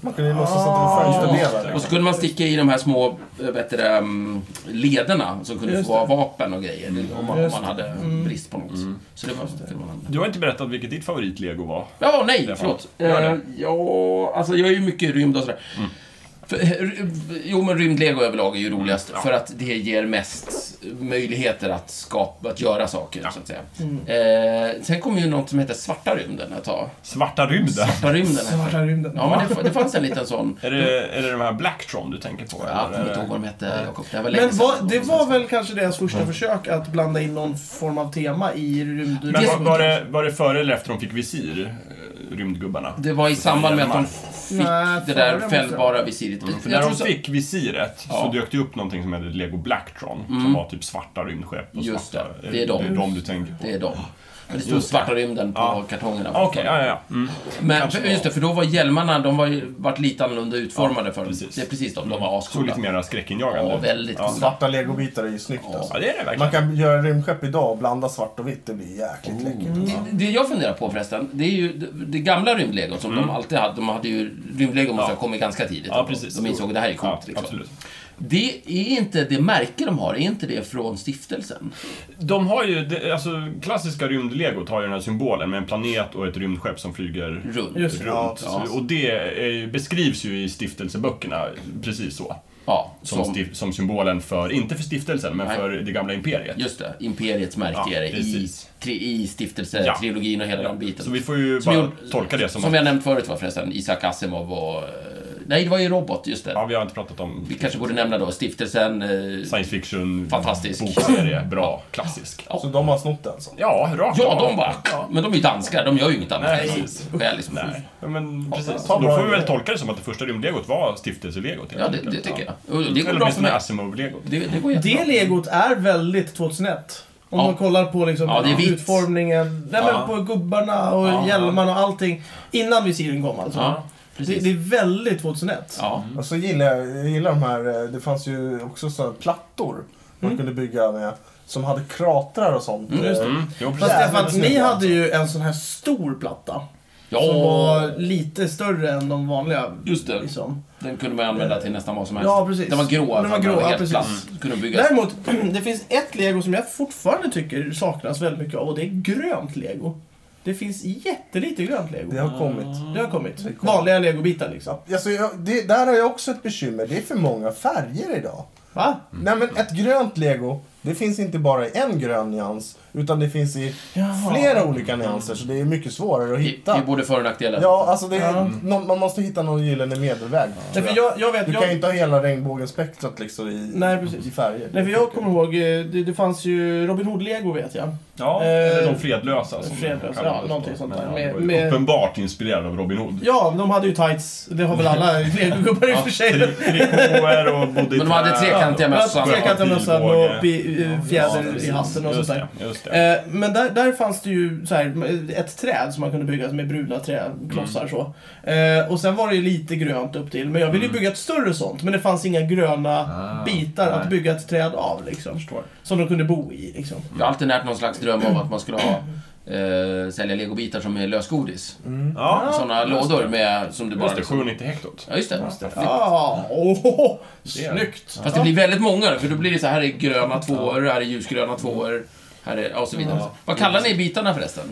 C: Man kunde ju låtsas att det
D: Ah,
C: var fönsterdelar.
B: Och så kunde man sticka i de här små eh, vet du, det, mm, lederna som kunde
A: Just
B: få vara vapen och grejer om man, om
A: Just Mm.
B: man hade brist på något. Så det var så kunde man använda.
D: Du har inte berättat vilket ditt favoritlego var.
B: Ja, nej,
D: Stefan,
B: förlåt.
D: gör det.
B: Eh, ja, alltså jag är ju mycket i rymd och sådär.
D: Mm.
B: För, eh, r- jo, men rymdlego överlag är ju roligast för att det ger mest möjligheter att skapa, att göra saker, så att säga.
A: Mm.
B: Eh, sen kom ju något som heter Svarta rymden ett tag.
D: Svarta rymden.
B: Svarta rymden.
A: Svarta rymden.
B: Ja, men det, det fanns en liten sån.
D: Är det, är det de här Blacktron du tänker på?
B: Jag kommer
D: eller?
B: inte ihåg vad de hette, Jakob. Det Mm. var länge
A: Men
B: sedan.
A: vad- det var väl kanske deras första försök att blanda in någon form av tema i rymd...
D: Men
B: Det-
D: var, var, det, var det före eller efter de fick visir, eh, rymdgubbarna?
B: Det var i samband med att de fick
A: Nej,
B: det
A: före
B: där
A: måste
B: fällbara visiret.
D: Mm, För
B: Jag
D: när
B: tror
D: de
B: så-
D: fick visiret
B: Ja. Mm.
D: så dök det upp någonting som hette Lego Blacktron, som var typ svarta rymdskepp och
B: Just
D: svarta...
B: det. Det är de.
D: Det är de du tänker på.
B: Det är dem. Men det stod Svarta rymden på
D: Ja.
B: kartongerna.
D: Okej, ja, ja, ja. Mm.
B: Men
D: Kanske
B: för, just det, för då var hjälmarna, de var ju varit lite annorlunda utformade för
D: precis. Mm.
B: Det är precis de, de var
D: Såg
B: ascoola.
D: lite mera skräckinjagande
B: Ja,
D: ut.
B: väldigt
D: ja.
B: coola.
C: Svarta legobitar är ju snyggt
D: ja,
C: alltså.
D: det är det verkligen.
C: Man kan göra rymdskepp idag och blanda svart och vitt. Det blir
D: Oh.
C: jäkligt läckert.
B: Det- Det jag funderar på förresten, det är ju det- det gamla rymdlegot som de alltid hade. De hade ju, rymdlego måste
D: Mm. Ja.
B: ha kommit ganska tidigt.
D: Ja, precis.
B: De insåg att det här är coolt.
D: Ja,
B: liksom.
D: absolut.
B: Det är inte det märke de har, är inte det från stiftelsen?
D: De har ju, det- alltså klassiska rymdlegot har ju den här symbolen med en planet och ett rymdskepp som flyger runt.
B: Runt.
A: Just det.
C: Ja,
B: Ja.
D: Så, och det är, ju- beskrivs ju i stiftelseböckerna precis så.
B: Ja,
D: Som,
B: som,
D: stif- som symbolen för, inte för stiftelsen, men
B: Nej.
D: för det gamla imperiet.
B: just det, imperiets märke
D: Ja,
B: är det i,
D: precis.
B: tri, i stiftelsetrilogin
D: Ja.
B: trilogin och hela den biten.
D: Så vi får ju
B: Som
D: bara
B: gjorde-
D: tolka det som,
B: Som vi
D: att...
B: har nämnt förut va, förresten, Isaac Asimov och... eh, Nej, det var ju Robot, just det.
D: Ja, vi har inte pratat om
B: Vi kanske borde nämna då stiftelsen... eh,
D: science fiction,
B: Fantastisk.
D: bokserie, bra, klassisk.
C: Så de har snott det alltså.
D: Ja, rakt
B: Ja,
D: av.
B: de bara... Men de är ju danskar, de gör ju inget annat.
D: Nej,
B: än
D: precis.
B: skäl, liksom.
D: Ja, men precis.
B: alltså,
C: ta
D: Då
C: bra
D: får vi väl
C: idé.
D: tolka det som att det första rymdlegot var stiftelselegot.
B: Ja, det, det tycker jag. Och Det går bra
D: Eller
B: för
D: åtminstone
B: mig.
D: Asimov-legot.
B: Det, det går
A: Det
B: jättebra.
A: legot är väldigt 2001. Om
B: Ja.
A: man kollar på liksom
B: Ja, det är vitt.
A: utformningen, nej, men
D: Ja.
A: på gubbarna och
B: Ja.
A: hjälmarna och allting. Innan visiren kom alltså.
B: Ja,
A: det,
B: precis.
A: det är väldigt 2001.
B: Ja.
C: Och så gillar jag, jag gillar de här, eh, det fanns ju också sådana plattor man kunde bygga med. Som hade kratrar och sånt.
A: Mm. just det.
C: Eh,
D: Mm. Jo, precis.
A: Fast
C: Jävlar,
A: Stefan,
C: vad snyggt,
A: ni
C: alltså.
A: hade ju en sån här stor platta. Som
B: Ja,
A: var lite större än de vanliga.
B: just det.
A: Liksom.
B: Den kunde man använda till nästan vad som helst.
A: Ja, precis.
B: Den var grå. alltså.
A: Den var grå, ja,
B: helt
A: precis.
B: platt. Kunde byggas.
A: Däremot, det finns ett lego som jag fortfarande tycker saknas väldigt mycket av och det är grönt lego. Det finns jättelite grönt lego.
C: Det
A: Det,
C: har kommit.
A: har kommit.
C: Det kom.
A: Vanliga legobitar liksom.
C: Ja, Alltså, jag, det, där har jag också ett bekymmer. Det är för många färger idag.
A: Va?
C: Nej men ett grönt lego, det finns inte bara i en grön nyans. Utan det finns i
A: Jaha.
C: flera olika nyanser. Så det är mycket svårare att
B: Det det är
C: hitta.
B: både för och nackdelar.
C: Ja, alltså det är,
A: Ja.
C: nå- man måste hitta någon gyllene medelväg.
A: Nej,
C: tror
A: för
C: jag.
A: jag, jag vet,
C: Du kan ju
A: jag,
C: inte ha hela regnbågenspektrat liksom i,
A: Nej, precis.
C: i färger.
A: nej, för jag kommer ihåg, eh, det, det fanns ju Robin Hood-lego vet jag.
D: Ja,
A: Eh,
D: eller de fredlösa. som
A: fredlösa,
D: de kallades
A: ja, någonting
D: då.
A: sånt
D: Men
A: där.
D: han
A: Med-
D: var ju
A: med-
D: Uppenbart inspirerad av Robin Hood.
A: Ja, de hade ju tights. Det har väl alla legogubbar i och för
B: typ.
A: sig.
D: Tri- Trikåer och bodde i
B: Men de hade
D: trä.
B: trekantiga
A: Ja,
B: mössor.
A: Trekantiga mössan och
D: pilbåge.
A: bi- eh,
C: Ja,
A: fjäder
C: precis.
A: i hatten och sånt
D: Just
A: där.
D: det, just det.
A: Eh, men där, där fanns det ju så här, ett träd som man kunde bygga med bruna träklossar.
D: Mm.
A: Så. Eh, och sen var det ju lite grönt upp till. Men jag ville ju bygga ett större sånt. Men det fanns inga gröna
D: Mm. Ah,
A: bitar att
D: nej.
A: bygga ett träd av. Liksom, som de kunde bo i. Liksom.
B: Jag har alltid närt någon slags dröm om att man skulle ha eh, sälja legobitar som är lösgodis.
D: Ja,
B: Sådana lådor med, som du bara... liksom-
D: just det. 790 hektot.
B: Ja, just det. Just
A: Ja, ah, åh,
D: Det är-
A: snyggt!
B: Fast det blir väldigt många då, för då blir det så här här är gröna tvåor, här är ljusgröna tvåor, här är... ja, och så vidare. Vad kallar ni bitarna förresten?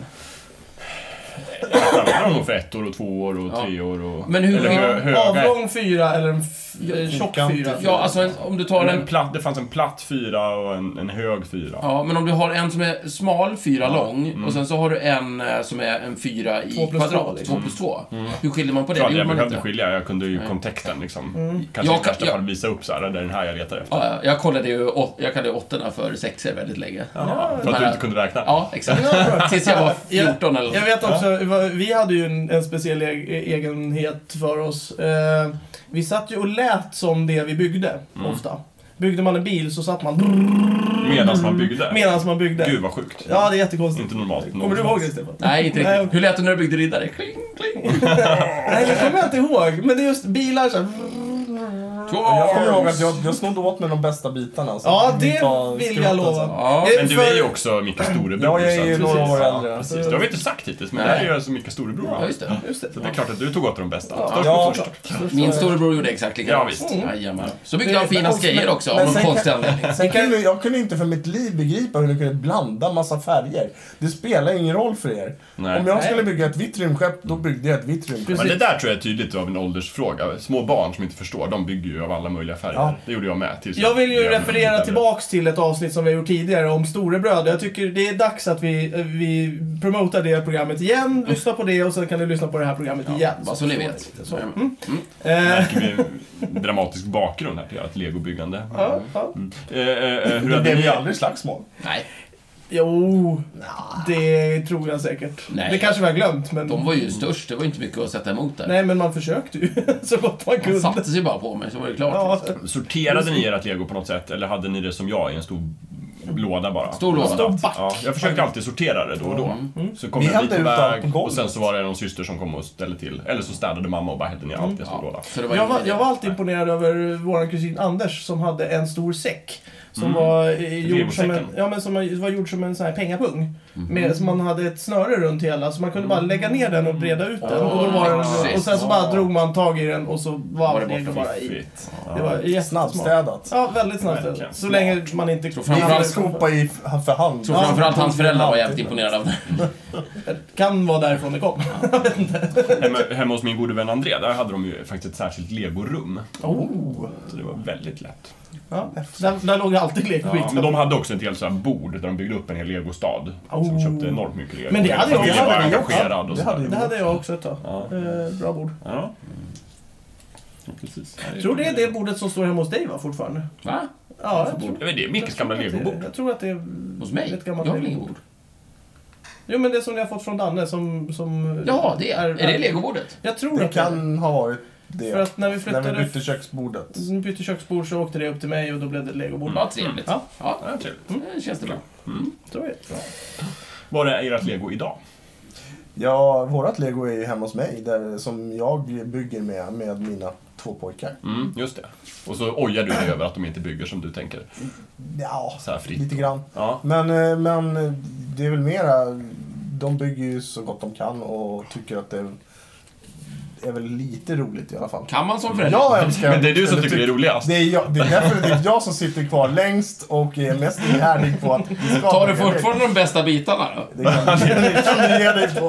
D: Där var de nog för ettor och tvåor och
B: Ja.
D: treor och...
B: Men hur-
D: eller hö, höga...
A: Avlång fyra eller en f- eh, tjock
C: fyrkantig
A: fyra.
B: Ja, alltså en, om du tar
D: Men en
B: en...
D: platt, det fanns en platt fyra och en, en hög fyra.
B: Ja, men om du har en som är smal, fyra lång, och sen så har du en eh, som är en fyra i
A: Mm. Två plus två,
B: kvadrat,
A: liksom.
B: två plus två. Hur skiljer man på det?
D: Jag,
B: Det
D: jag
B: gjorde man
D: behövde
B: inte.
D: skilja, jag kunde ju kontexten liksom.
A: Mm.
D: Kanske
B: Jag
D: i
B: kan-
D: värsta
B: jag-
D: fall visa upp så här, det är den här jag letar efter.
B: Ja, jag kollade ju, åt- jag kallade ju åttorna för sexor väldigt länge.
D: För att
B: Men-
D: du inte kunde räkna.
B: Ja, exakt. Tills jag var 14 eller
A: Jag vet också, vad- vi hade ju en, en speciell e- egenhet för oss. Eh, vi satt ju och lät som det vi byggde,
B: Mm.
A: ofta. Byggde man en bil så satt man
D: Medan man byggde.
A: medan man byggde.
D: Gud vad sjukt.
A: Ja, det är jättekonstigt.
D: Inte normalt
A: Kommer du ihåg
D: någonstans.
A: det, Stefan?
B: Nej, inte
A: Nej.
B: riktigt. Hur lät det när du byggde riddare? Kling, kling.
A: Nej, det kommer jag inte ihåg. Men det är just bilar så här.
C: Jag kommer ihåg att jag, jag snodde åt mig de bästa bitarna. så
A: Ja,
C: att
A: det
C: ta
A: vill jag
C: skroten
A: lova.
C: sen.
B: Ja,
A: Eh,
D: Men du
A: för-
D: är ju också Micke Storebror.
C: Ja, jag är ju
D: så att-
C: några år
D: Ja,
C: äldre.
D: Precis, det har vi inte sagt hittills, men
B: Nej.
D: jag är ju alltså Micke Storebror.
B: Ja, just det.
A: Just det.
D: Så det är klart att du tog åt de bästa. Störst
C: Ja.
D: ja. först.
B: Min storebror gjorde exakt likadant.
D: Ja, visst.
B: Jajamän. Så mycket av fina
C: Men-
B: grejer också, av
C: men
B: någon
C: sen-
B: konstig anledning.
C: Sen kunde, jag kunde inte för mitt liv begripa hur du kunde blanda massa färger. Det spelar ingen roll för er.
D: Nej.
C: Om jag skulle bygga ett vitt rymdskepp, då byggde jag ett vitt rymdskepp.
D: Men det där tror jag är tydligt av en åldersfråga. Små barn som inte förstår, de bygger ju av alla möjliga färger.
C: Ja.
D: Det gjorde jag med. Tills
A: Jag vill ju
D: blev
A: referera
D: äldre.
A: tillbaks till ett avsnitt som vi har gjort tidigare om storebröder. Jag tycker det är dags att vi, eh, vi promotar det programmet igen, lyssna på det och sen kan du lyssna på det här programmet igen.
B: Mm. Bara så ni vet.
A: Så.
B: Jajamän.
A: Eh,
D: Märker vi en dramatisk bakgrund här till ert legobyggande.
A: ja,
B: Mm.
A: ja.
D: Eh, eh, eh, hur
C: Det
D: hade
C: blev ju
D: ni...
C: aldrig slagsmål.
B: Nej,
A: Jo, det tror jag säkert.
B: Nej.
A: Det kanske vi har glömt, men...
B: de var ju störst. Det var ju inte mycket att sätta emot där.
A: Nej, men man försökte ju så gott man
B: Han
A: kunde.
B: satte sig bara på mig, så var det klart.
A: Ja,
D: Sorterade ni ert lego på något sätt, eller hade ni det som jag i en stor låda bara?
B: Stor låda.
A: Stor back.
D: Ja, jag försökte alltid sortera det då och då. Så kom
C: Vi
D: jag
C: hällde
D: dit på
C: ut allt på
D: väg
C: golvet.
D: och sen så var det någon syster som kom och ställde till. Eller så städade mamma och bara hällde ner allt i en stor låda.
B: Så det
A: jag,
B: ingen
A: var,
B: idé.
A: jag var alltid imponerad över vår kusin Anders som hade en stor säck. Som
B: Mm.
A: var, eh, gjord som en,
D: Legosäcken.
A: ja, men som var gjord som en sån här pengapung.
B: Mm.
A: Med, som man hade ett snöre runt hela, så man kunde bara lägga ner den och breda ut den. Och, då var den
B: Precis.
A: och sen så bara drog man tag i den och så var
B: Var det
A: den egen
B: borta?
A: bara i.
D: Fiffigt.
A: Det var jättesmart.
C: Snabbstädat.
A: Ja, väldigt snabbt.
D: Verkligen.
A: Så länge man inte...
B: fram-
C: Vi
B: Framförallt-
C: fick skopa i f- för hand.
B: Tror framförallt hans föräldrar var jävligt
C: Alltid.
B: imponerade av det.
A: Kan vara därifrån det kom.
D: Hemma, hemma hos min gode vän André, där hade de ju faktiskt ett särskilt legorum.
A: Oh.
D: Så det var väldigt lätt.
A: Ja, där, där låg alltid lekskit.
D: Men de hade också ett helt så här bord där de byggde upp en hel legostad. Så de
A: Oh.
D: köpte enormt mycket lego.
A: Men det hade jag-
D: Familjen
A: det hade
D: var
A: jag
C: också.
D: engagerad och
C: Det
D: så
C: hade
D: där.
A: Det hade jag också ett tag.
D: Ja.
A: Eh, bra bord.
D: Ja. Ja, Precis.
A: Jag tror det är det bordet som står hemma hos dig va, fortfarande?
B: Va?
A: Ja, jag tror,
D: Ja, men Det är Mickes gamla
A: jag tror att det-
D: legobord.
A: jag tror att det är...
B: Hos mig?
A: Ett
B: Jag
A: gammalt
B: har väl
A: legobord.
B: inget bord?
A: Jo, men det som ni har fått från Danne som... som
B: Jaha, det är, är det legobordet?
A: Jag tror
C: Det
A: att
C: kan ha varit det.
A: För att när vi
C: när vi
A: flyttade...
C: bytte köksbordet.
A: När vi bytte köksbord så åkte det upp till mig och då blev det ett legobord.
B: Vad trevligt.
A: Mm. Ja. Mm.
B: Ja,
D: Ja, trevligt.
B: det känns det bra.
A: Så är det.
D: Var är ert lego idag?
C: Ja, vårat lego är ju hemma hos mig, där, som jag bygger med, med mina två pojkar.
D: Mm, just det. Och så ojar du dig över att de inte bygger som du tänker.
C: Ja,
D: Så här fritt.
C: lite grann.
D: Ja.
C: Men, eh, men det är väl mera de bygger ju så gott de kan och tycker att det är väl lite roligt i alla fall.
B: Kan man som förälder?
C: Jag älskar...
D: Men det är du som
C: eller typ
D: tycker det är roligast.
C: Det är, jag, det är definitivt jag som sitter kvar längst och är mest ihärdig på att... vi ska
B: Tar du
C: bygga lego.
B: fortfarande de bästa bitarna då?
C: Det kan, det kan du ge dig på.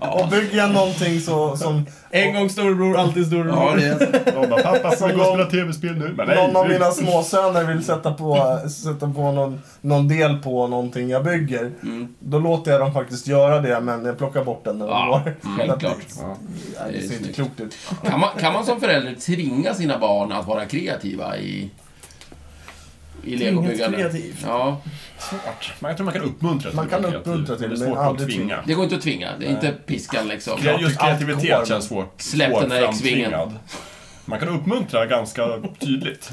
C: Och bygger jag någonting så, som
A: En gång storebror, alltid storebror.
B: Ja, det är...
D: De bara, pappa ska vi gå och
C: Någon-
D: spela tv-spel nu? Men
C: någon av
D: nu-
C: mina småsöner vill sätta på, sätta på någon, någon del på någonting jag bygger.
B: Mm.
C: Då låter jag dem faktiskt göra det, men jag plockar bort den när de
B: Ja, mm,
C: går.
B: självklart.
C: Ja, det ser inte klokt ut.
B: Kan man, kan man som förälder tvinga sina barn att vara kreativa i, i legobyggande?
A: kreativt.
B: Ja,
D: Svårt. Man- Jag tror man kan uppmuntra till
C: Man kan
D: att vara kreativ,
C: uppmuntra till
D: men
C: det,
D: det. är
C: men
D: svårt att
C: aldrig
D: tvinga.
B: det går inte att tvinga. Det är inte piskan liksom.
D: Kre- Just
C: tycker allt går,
D: kreativitet känns svårt.
B: Släpp den där
D: svårframtvingad.
B: X-vingen.
D: Man kan uppmuntra ganska tydligt.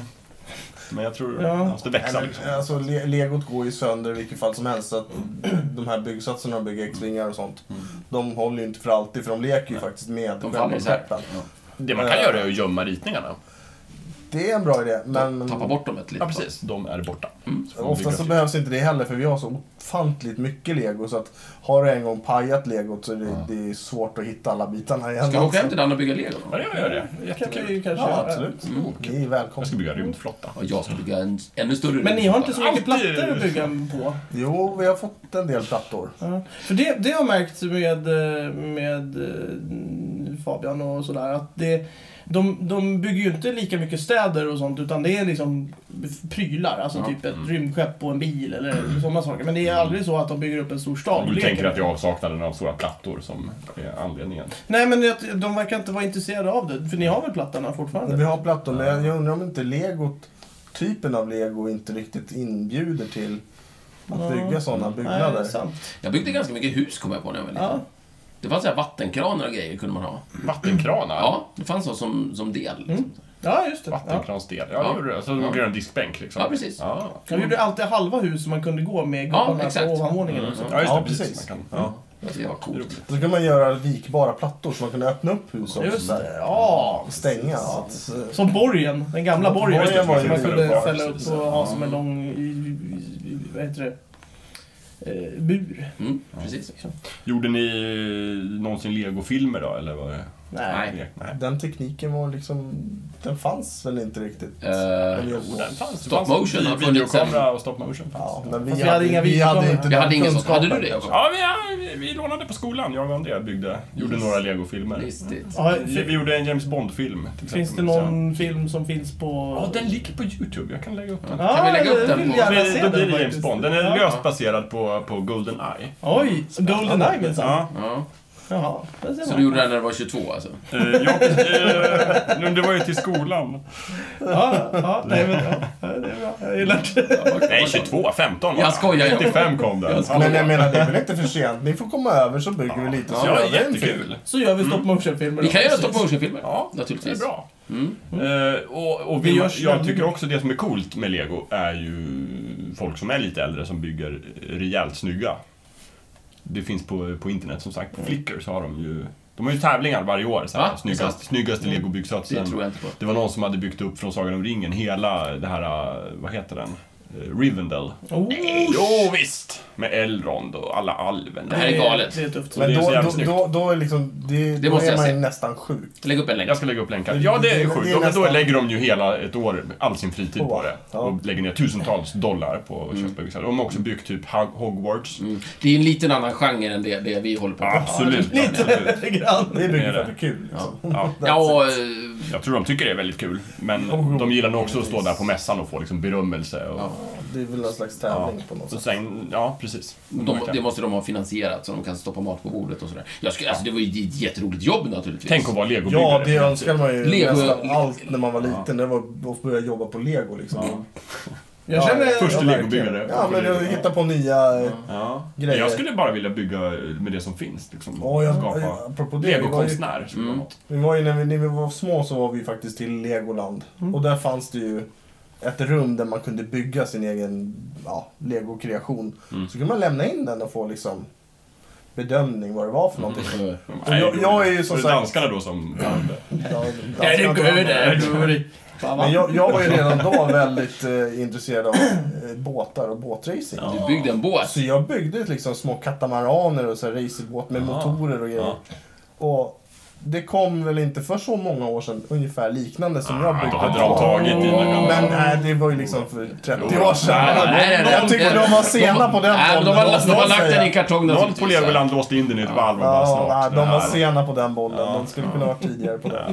D: Men jag tror
A: Ja.
D: man måste växla
C: Nej,
D: liksom.
C: men, alltså, le- legot går ju sönder i vilket fall som helst. Så att de här byggsatserna de bygger X-vingar och sånt. De håller ju inte för alltid, för de leker ju faktiskt med
B: Mm. De faller
C: själva
B: isär.
C: peppen.
D: Det man kan göra är att gömma ritningarna.
C: Det är en bra idé, men
B: Tappa bort dem ett
D: Ja,
B: litet tag.
D: precis. Mm. De är borta. Så får man bygga
C: Oftast så
D: till.
C: behövs inte det heller för vi har så ofantligt mycket lego så att har du en gång pajat legot så är det, det är svårt att hitta alla bitarna igen.
B: Ska vi åka hem till Dan och bygga lego?
D: Ja, jag gör det.
A: kan vi
D: Jättekul.
A: ju kanske
C: Ja,
A: göra.
C: absolut. Ni är
D: Jag
C: välkomna.
D: ska bygga rymdflotta.
B: Ja, jag ska bygga en ännu större
A: Men ni har inte så mycket
D: Alltid.
A: plattor att bygga på.
C: Jo, vi har fått en del plattor.
A: Ja. För det, det har jag märkt med, eh, med eh, Fabian och sådär att det, de, de bygger ju inte lika mycket städer och sånt utan det är liksom prylar. Alltså
B: Ja.
A: typ ett rymdskepp och en bil eller sådana saker. Men det är aldrig så att de bygger upp en stor stad.
D: Du tänker att det är avsaknaden av stora plattor som är anledningen.
A: Nej men det- de verkar inte vara intresserade av det. För ni har väl plattorna fortfarande?
C: Vi har plattor, men jag- jag undrar om inte legot, typen av lego inte riktigt inbjuder till
A: Ja.
C: att bygga sådana
A: Nej, det är
C: byggnader.
A: sant.
B: Jag byggde ganska mycket hus, kom jag på när jag var liten.
A: Ja.
B: Det fanns så här vattenkranar och grejer kunde man ha.
D: Vattenkranar.
B: Ja, det fanns så som, som del.
A: Mm.
B: Liksom.
A: ja, just det. Ja.
D: Vattenkransdel. Ja,
B: Ja.
D: det gjorde det. Så man
B: Ja.
D: gör en diskbänk liksom.
B: Ja, precis.
D: Ja,
A: De gjorde alltid halva hus som man kunde gå med
B: Ja,
A: gubbarna
B: exakt.
A: på ovanvåningen.
B: Mm.
A: också.
D: ja just det.
C: Ja,
D: precis.
C: precis.
D: Man kan, ja.
B: Det var coolt.
C: Så kan man göra vikbara plattor så man kan öppna upp hus också.
A: Just
C: där.
A: det, ja.
C: Stänga. så att-
A: Som borgen, den gamla borgen.
C: borgen var ju
A: som man
D: det.
A: kunde
D: Ja,
A: ställa upp
D: precis.
A: och ha som en lång... i- i- i- Vad heter det? Eh, bur.
B: Mm, precis.
D: Gjorde ni någonsin legofilmer då, eller var det?
A: Nej.
B: Nej.
D: Nej.
C: eh, Den tekniken var liksom... Den fanns väl inte riktigt?
B: Eh,
C: Eller-
D: Jo, den fanns.
B: Stop motion har
D: har
B: funnits
D: Videokamera och stop motion
C: Ja,
D: fanns.
C: men vi,
A: Fast
C: hade, inga vi hade inte
A: videokameror.
B: Vi
C: den
B: hade ingen sån.
C: kunskapen.
B: Hade du det också?
D: Ja, vi, ja, vi, vi lånade på skolan, jag och André byggde. Gjorde
B: Yes.
D: några legofilmer.
B: Listigt.
A: Ja,
D: Vi, vi
A: fi-
D: gjorde en James Bond-film. till
A: finns det
D: exempel. liksom.
A: någon film som finns på...
D: Ja, den ligger på YouTube. Jag kan lägga upp den.
A: Ja,
B: Kan vi lägga upp
A: det
B: den
A: vill
B: på-
A: jag gärna se
D: Men Då blir
A: den
D: det James
A: faktiskt.
D: Bond. Den är
A: Ja.
D: löst baserad på, på Goldeneye.
A: Oj, Goldeneye minsann.
D: Ja.
B: Ja.
A: Jaha, där ser
B: Så
A: man.
B: du gjorde det här när du var 22 alltså?
D: Eh, jag, eh, men det var ju till skolan.
A: Ja, ja, nej, men, ja, ja, det är bra. Jag gillar det.
B: Ja, vad-
D: Nej,
B: vad-
D: 22. 15 var
B: Jag skojar, jag-
D: 95 kom den.
B: Jag skojar.
C: Men jag menar, det är väl inte för sent. Ni får komma över så bygger vi lite. Så
D: Ja,
C: gör
D: det
C: vi
D: är
C: en film.
D: jättekul.
A: Så gör vi stop motion-filmer
B: Vi
A: då.
B: kan göra stop motion-filmer.
D: Ja, Det är
B: naturligtvis. Mm.
D: bra. Eh, och och
A: Det
D: vi,
A: görs
D: jag
A: väldigt
D: tycker
A: mycket.
D: också det som är coolt med Lego är ju folk som är lite äldre som bygger rejält snygga. Det finns på, på internet som sagt. På Flickr så har de ju de har ju tävlingar varje år. Så här,
B: Va?
D: snyggast,
B: Sant?
D: snyggaste
B: Det
D: legobyggsatsen.
B: tror jag inte på.
D: Det var någon som hade byggt upp från Sagan om ringen hela det här, eh, vad heter den? Eh, Rivendell.
A: Oh,
D: Jo, visst! Med Elrond och alla alven.
B: Det här är galet.
A: Det är tufft.
D: det
C: Men
D: är så
C: då,
D: jävla
C: då,
D: snyggt.
C: då, då är, liksom, det,
B: Det
C: då
B: måste
C: är
B: jag
C: man
B: se.
C: ju nästan sjuk.
B: Lägg upp en länk.
D: Jag ska lägga upp länkar. Ja, det
C: Det-
D: är
C: det är
D: sjukt. Men då
C: nästan-
D: lägger de ju hela ett år, all sin fritid på det.
C: Ja. Mm.
D: Och lägger ner tusentals dollar på att köpa byggsatser. De har också byggt typ Hog- Hogwarts.
B: Mm. Det är en liten annan genre än det, det vi håller på med.
D: Absolut. absolut.
A: Lite grann.
C: Det är
D: Det är
C: mycket
D: det.
C: för att det är kul. Liksom.
D: Ja.
B: Ja, eh,
D: Jag tror de tycker det är väldigt kul. Men de gillar nog också att stå där på mässan och få liksom berömmelse. Och,
C: Det är väl någon slags tävling på något
D: och
C: sätt.
D: sen, ja, precis.
B: de, det måste de ha finansierat så de kan stoppa mat på bordet och sådär. Jag skulle, alltså, det var ju ett jätteroligt jobb naturligtvis.
D: Tänk att vara legobyggare.
C: Ja, det önskade man ju
B: Lego-
C: nästan allt när man var liten. Det var att börja jobba på lego liksom.
A: Jag känner...
D: Första
C: Ja,
D: legobyggare.
C: Ja, men jag hitta på nya... eh,
D: Ja.
C: Grejer.
D: Jag skulle bara vilja bygga med det som finns. Liksom.
C: Ja, jag-
D: Skapa.
C: jag- apropå det, vi var ju-
D: Legokonstnär skulle vara något.
C: Vi var ju, när, vi, när vi var små så var vi faktiskt till Legoland. Och där fanns det ju ett rum där man kunde bygga sin egen ja, legokreation. Så kunde man lämna in den och få liksom bedömning vad det var för någonting.
D: Nej,
C: jag- jag är ju som
D: för
C: sagt-
D: danskarna då som...
C: Ja,
B: Är det
C: danskarna-
B: good? Är det good? Fan,
C: Men
B: vad-
C: jag, jag var ju redan då väldigt eh, intresserad av eh, båtar och båtracing.
B: Du byggde en båt.
C: Så jag byggde ut liksom små katamaraner och så här racerbåt med motorer och grejer. Och det kom väl inte för så många år sedan ungefär liknande som jag byggde.
D: Ah, Då hade de tagit dina
C: Men
D: gamla...
C: nej, det var ju liksom för 30
D: Jo.
C: år sedan.
B: Nej, nej, nej, nej,
C: jag tyckte de var sena på den
B: Nej, Äh, men de har, de har lagt den i kartong
D: Någon
B: naturligtvis.
D: på Legoland låste in den i ett valv och bara
C: Ja,
D: snart.
C: nej, de var
D: det här-
C: sena på den bollen. De skulle kunna ha varit tidigare på den.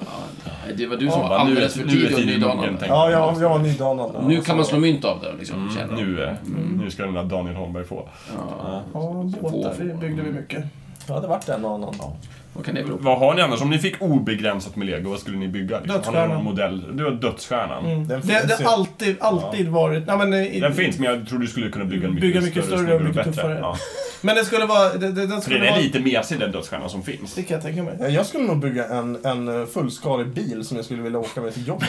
B: Nej, Det var du som var
D: bara, nu är-
B: alldeles för
D: nu är
B: tidig och
D: tiden mogen,
B: nydanande.
D: tänkte
C: Ja, jag, jag var nydanande.
B: Nu kan man slå mynt av den liksom. känner jag.
D: Nu, eh, nu ska den där Daniel Holmberg få.
B: Ja.
A: Ja, båtar. Det byggde vi mycket.
C: Det hade varit en och annan.
B: Vad kan det bero på?
D: Vad har ni annars? Om ni fick obegränsat med lego, vad skulle ni bygga? Liksom? Har ni någon
A: Dödsstjärnan.
D: modell? Du har dödsstjärnan.
C: Den
A: Det
C: finns
A: det
C: ju.
A: har alltid, alltid varit... Nej, men, i,
D: Den finns, men jag tror du skulle kunna bygga en mycket,
A: Bygga mycket större och mycket
D: bättre.
A: tuffare.
D: Ja.
A: men den skulle vara... Den, den
D: För
A: skulle
D: den är
A: vara...
D: lite mesig, den dödsstjärnan som finns.
A: Det kan jag tänka mig.
C: Jag skulle nog bygga en, en fullskalig bil som jag skulle vilja åka med till jobbet.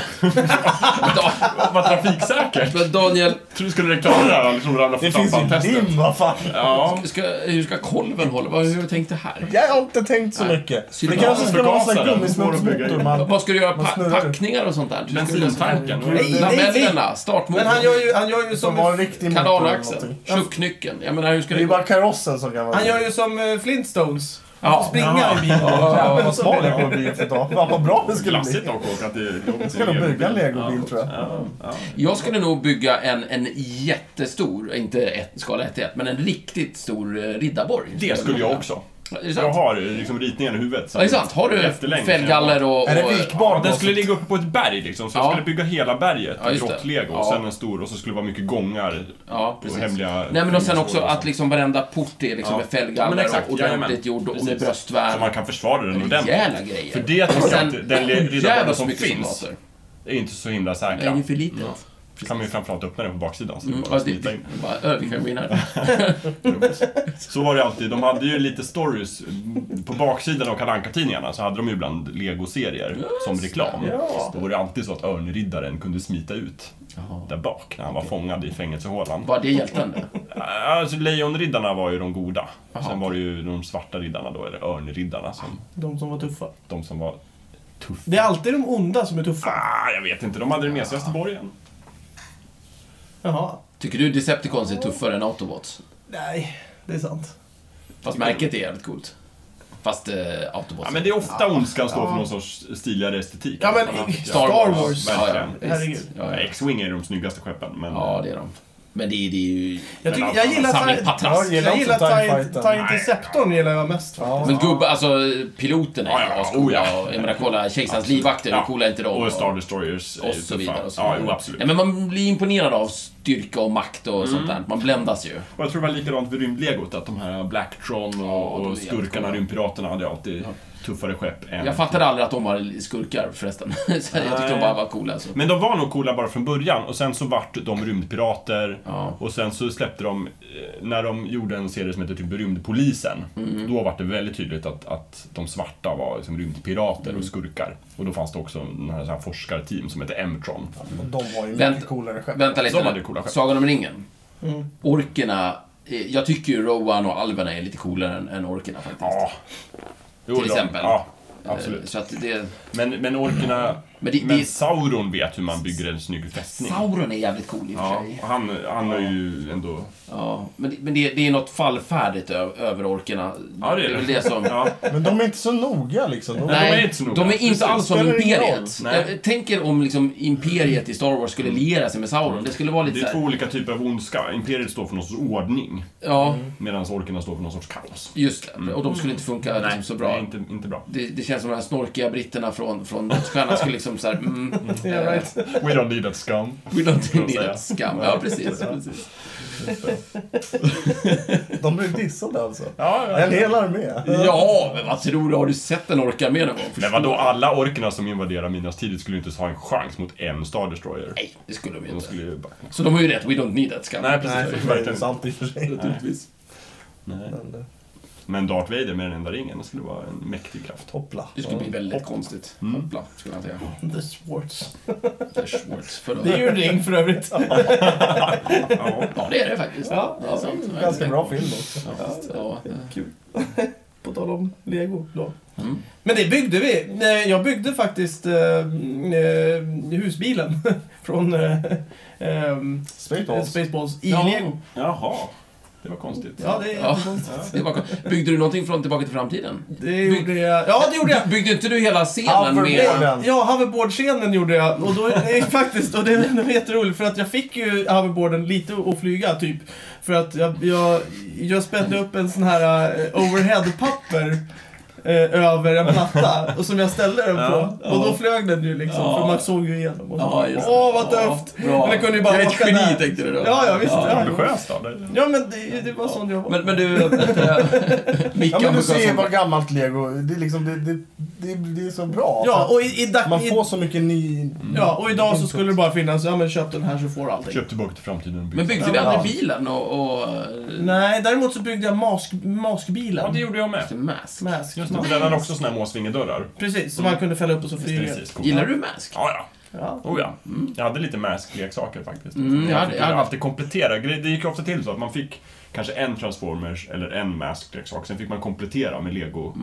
B: Da-
D: Vad trafiksäkert!
B: Men Daniel,
D: Tror du skulle klara det här? Liksom ramla för
C: Det finns
D: trappan
C: ju lim, vad fan.
D: Ja.
B: ska, hur ska kolven hålla? Vad- Hur har du tänkt det här?
C: Jag har inte tänkt så
B: Nej.
C: mycket. Det
B: Syrgas-
C: kanske ska vara en sån här
D: förgasare. Då får de bygga
C: gummisnodsmotor
D: in.
C: man...
B: Vad ska du göra?
C: Man
B: Pa-
C: snurrar.
B: packningar och sånt där? Hur ska du lösa det?
D: Bensintanken?
A: Nej,
B: Lamellerna? Startmotorn?
A: Men han gör ju, han gör ju som...
C: Som var en riktig motor eller
B: Kanalaxeln?
C: någonting.
B: Tjucknyckeln? Jag menar, hur ska
C: Det är
B: det
C: ju
B: gå?
C: bara karossen som kan vara...
A: Han gör ju som eh, Flintstones.
B: Ja.
A: Springa i bilen.
C: Jävlar vad smal jag kommer bli efter ett tag. Fan vad bra det skulle
D: Glassigt
C: bli.
D: dock att åka till
C: Jag ska nog bygga en legobil tror jag.
B: Jag skulle nog bygga en, en jättestor, inte ett, skala 1 till 1, men en riktigt stor eh, riddarborg.
D: Det skulle jag också.
B: Är det
D: Jag
B: sant?
D: har liksom ritningen i huvudet. så-
B: Ja, det är sant. Har du
D: Efterlängd,
B: fällgaller och... och
C: Är det
D: Ja,
C: vikbar
D: den
C: då?
D: skulle ligga uppe på ett berg liksom, så
B: Ja.
D: jag skulle bygga hela berget
B: Ja,
D: i
B: just det.
D: grått lego
B: Ja.
D: och sen en stor och så skulle det vara mycket gångar
B: Ja,
D: och
B: precis.
D: hemliga...
B: Nej, men och sen också
D: kryphål och
B: att
D: sånt.
B: liksom varenda port är liksom
D: Ja.
B: med
D: Ja,
B: fällgaller
D: men exakt.
B: och ordentligt
D: Jajamän.
B: gjord och med
D: Precis. Så
B: bröstvärn.
D: man kan försvara den ordentligt.
B: Rejäla grejer.
D: För det
B: Och
D: tycker jag
B: sen
D: att den le- riddarbanan
B: jävla så
D: som
B: mycket
D: finns
B: soldater.
D: är inte så himla
B: Det är
D: säkra.
B: ju för litet.
D: kan man ju framförallt öppna den på baksidan så det är
B: Mm,
D: bara
B: ja,
D: att
B: det,
D: smita
B: det,
D: in.
B: bara, ö, vi kan gå in här.
D: Så var det alltid. De hade ju lite stories. På baksidan av Kalle Anka-tidningarna så hade de ju ibland legoserier som reklam. Då var det alltid så att Örnriddaren kunde smita ut där bak när han var fångad i fängelsehålan.
B: Var det hjälten? det?
D: Alltså lejonriddarna var ju de goda. Sen var det ju de svarta riddarna då, eller örnriddarna, som,
A: De som var tuffa.
D: de som var tuffa.
A: Det är alltid de onda som är tuffa.
D: Ah, jag vet inte, de hade det med sig i Österborgen.
A: Jaha.
B: Tycker du Decepticons är tuffare än Autobots?
A: Nej, det är sant.
B: Fast märket är jävligt coolt. Fast eh, Autobots...
D: Ja, men det är ofta ondskan står för någon sorts stiligare estetik.
A: Ja, men i- Star Wars.
B: Ja, ja,
D: Verkligen.
B: visst.
A: Herregud.
B: Ja, ja.
D: X-Wing är de snyggaste skeppen, men...
B: ja, det är de. Men det, det är ju...
A: Jag, tycker,
D: Men
A: jag
D: alltså,
A: gillar
B: samling
A: Tar-
B: patrask.
C: Ja, jag gillar
A: Jag
C: inte
A: gillar
C: TIE
A: Tar-
C: Fighter.
A: Tar- Interceptorn gillar jag mest faktiskt.
B: Men gubbe, alltså piloterna är
D: Ja,
B: ju
D: ja, ja.
B: ascoola.
D: Oh, ja.
B: och Jag menar, kolla Kejsarens livvakter, hur coola är inte de?
D: Och Star Destroyers är
B: och
D: ju
B: så
D: tuffa.
B: vidare. Och så
D: Ja,
B: vidare.
D: jo, absolut.
B: Nej, men man blir imponerad av styrka och makt och sånt
D: Mm.
B: där. Man bländas ju.
D: Och jag tror det var likadant vid rymdlegot, att de här Blacktron
B: Ja,
D: och,
B: de är
D: och
B: jättecoola.
D: skurkarna, rymdpiraterna, hade alltid tuffare skepp än...
B: Jag fattade aldrig att de var skurkar förresten. Så jag tyckte de bara var coola. Alltså.
D: Men de var nog coola bara från början och sen så vart de rymdpirater
B: Ja.
D: och sen så släppte de, eh, när de gjorde en serie som heter typ Rymdpolisen,
B: Mm.
D: då vart det väldigt tydligt att, att de svarta var liksom rymdpirater
B: Mm.
D: och skurkar. Och då fanns det också den här, så här forskarteam som hette M-tron.
C: Och de var ju
B: Vänta.
C: mycket coolare skepp.
B: Vänta lite.
D: De hade coola skepp.
B: Sagan om ringen. Mm. Orkerna. eh, Jag tycker ju Rowan och alverna är lite coolare än, än orkerna faktiskt.
D: Ja. Jo,
B: Till
D: de-
B: exempel.
D: Ja,
B: Eh,
D: absolut.
B: Så att det...
D: Men, men orkerna...
B: Men
D: Men,
B: det- det-
D: Sauron vet hur man bygger en snygg fästning.
B: Sauron är jävligt cool i och för
D: Ja,
B: sig.
D: och han, han är ju ändå...
B: Ja. Men, det- men det, det är något fallfärdigt ö- över orkerna.
D: Ja, det är
B: det är väl
D: det.
B: det som...
D: Ja.
C: Men de är inte så noga liksom. De,
B: Nej,
D: är inte så noga.
B: de är inte
D: Precis.
B: alls som
C: Spelar ingen
B: Imperiet.
D: roll. Nej. Mm.
B: Jag tänker om liksom Imperiet i Star Wars skulle liera sig med Sauron. Det skulle vara lite
D: Det är
B: så
D: två
B: här,
D: olika typer av ondska. Imperiet står för någon sorts ordning,
B: Ja,
D: medan orkerna står för någon sorts kaos.
B: just det. Och de skulle inte funka liksom, så bra.
D: Mm. Nej, inte, inte bra.
B: Det, det känns som de här snorkiga britterna från, från Dödsstjärnan skulle liksom såhär... Mm,
A: Yeah,
B: eh,
A: right.
D: We don't need that scum.
B: We don't need
D: säga.
B: that scum. Ja, precis. precis.
C: de blev dissade alltså.
D: Ja, ja.
C: En hel armé.
B: Ja, men vad tror du? Har du sett en orka med någon gång?
D: Men vadå, alla orkerna som invaderar Minas tidigt skulle ju inte ha en chans mot en Star Destroyer.
B: Nej, det skulle de ju
D: De
B: inte.
D: skulle ju bara...
B: Så de har ju rätt. We don't need that scum.
D: Nej,
C: Nej,
D: precis.
C: det är
D: verkligen.
C: sant i och för sig.
B: naturligtvis.
C: Men, eh,
D: Men Darth Vader med den enda ringen, det skulle vara en mäktig kraft.
C: Hoppla.
B: Det skulle bli väldigt konstigt.
D: Mm.
B: Hoppla, skulle jag säga.
A: The Swartz.
B: Det är Schwartz. Förlåt.
A: Det är ju en ring för övrigt.
B: Ja, det är det faktiskt.
A: Ja,
B: det är sant.
C: Ganska bra film också.
B: Ja, visst. ja, eh,
A: Kul. På tal om lego då.
B: Mm.
A: Men det byggde vi. Nej, Jag byggde faktiskt eh, eh, husbilen från eh, ehm,
C: Spaceballs.
A: Spaceballs i
B: Ja.
A: lego.
D: Jaha, det var konstigt.
A: Ja, det är
B: Ja.
A: jättekonstigt.
B: Det var Byggde du någonting från Tillbaka till framtiden?
A: Det gjorde jag. Ja, det gjorde jag!
B: Byggde inte du hela scenen med...
C: Hoverboarden.
A: Ja, hoverboard-scenen gjorde jag. Och då, nej, faktiskt, och det, det var jätteroligt för att jag fick ju hoverboarden lite att flyga typ. För att jag, jag, jag spände upp en sån här eh, overhead-papper eh, över en platta och som jag ställde den på.
B: Ja,
A: och då
B: ja.
A: flög den ju liksom,
B: Ja.
A: för man såg ju igenom. och så.
B: Ja, just det.
A: Åh, vad
B: Ja,
A: tufft!
B: bra.
A: Men det kunde ju bara
B: Jag är ett
A: åka
B: geni,
A: där.
B: tänkte du då.
A: Ja, ja, visst.
B: Ja.
A: Ja, ja.
D: Ambitiöst av dig.
A: men det, det var sån jag var.
B: Men, men du... äh, Micke
C: Ja men du ser
B: Ambitiös-
C: vad gammalt lego, det är liksom, det, det, det, det är så bra.
A: ja, och i, i, dag-
C: Man
A: i,
C: får så mycket ny...
B: Mm.
A: ja, och idag så skulle det bara finnas, ja men köp den här så får du allting.
D: Köp tillbaka till framtiden.
B: Men byggde vi aldrig bilen och... och
A: Nej, däremot så byggde jag mask, maskbilen.
D: Ja, det gjorde jag med.
B: Mask.
A: Mask.
D: Just det, för den hade också såna här måsvingedörrar.
A: Precis,
B: Mm.
A: som man kunde fälla upp och så flyger.
D: Precis, coolt.
B: Gillar du Mask?
D: Ja, ja.
A: Ja.
D: Oh, ja. Jag hade lite mask-leksaker faktiskt.
B: Mm, jag
D: jag
B: hade-
D: fick
B: jag hade-
D: alltid komplettera. gre- Det gick ofta till så att man fick kanske en Transformers eller en mask-leksak. Sen fick man komplettera med lego.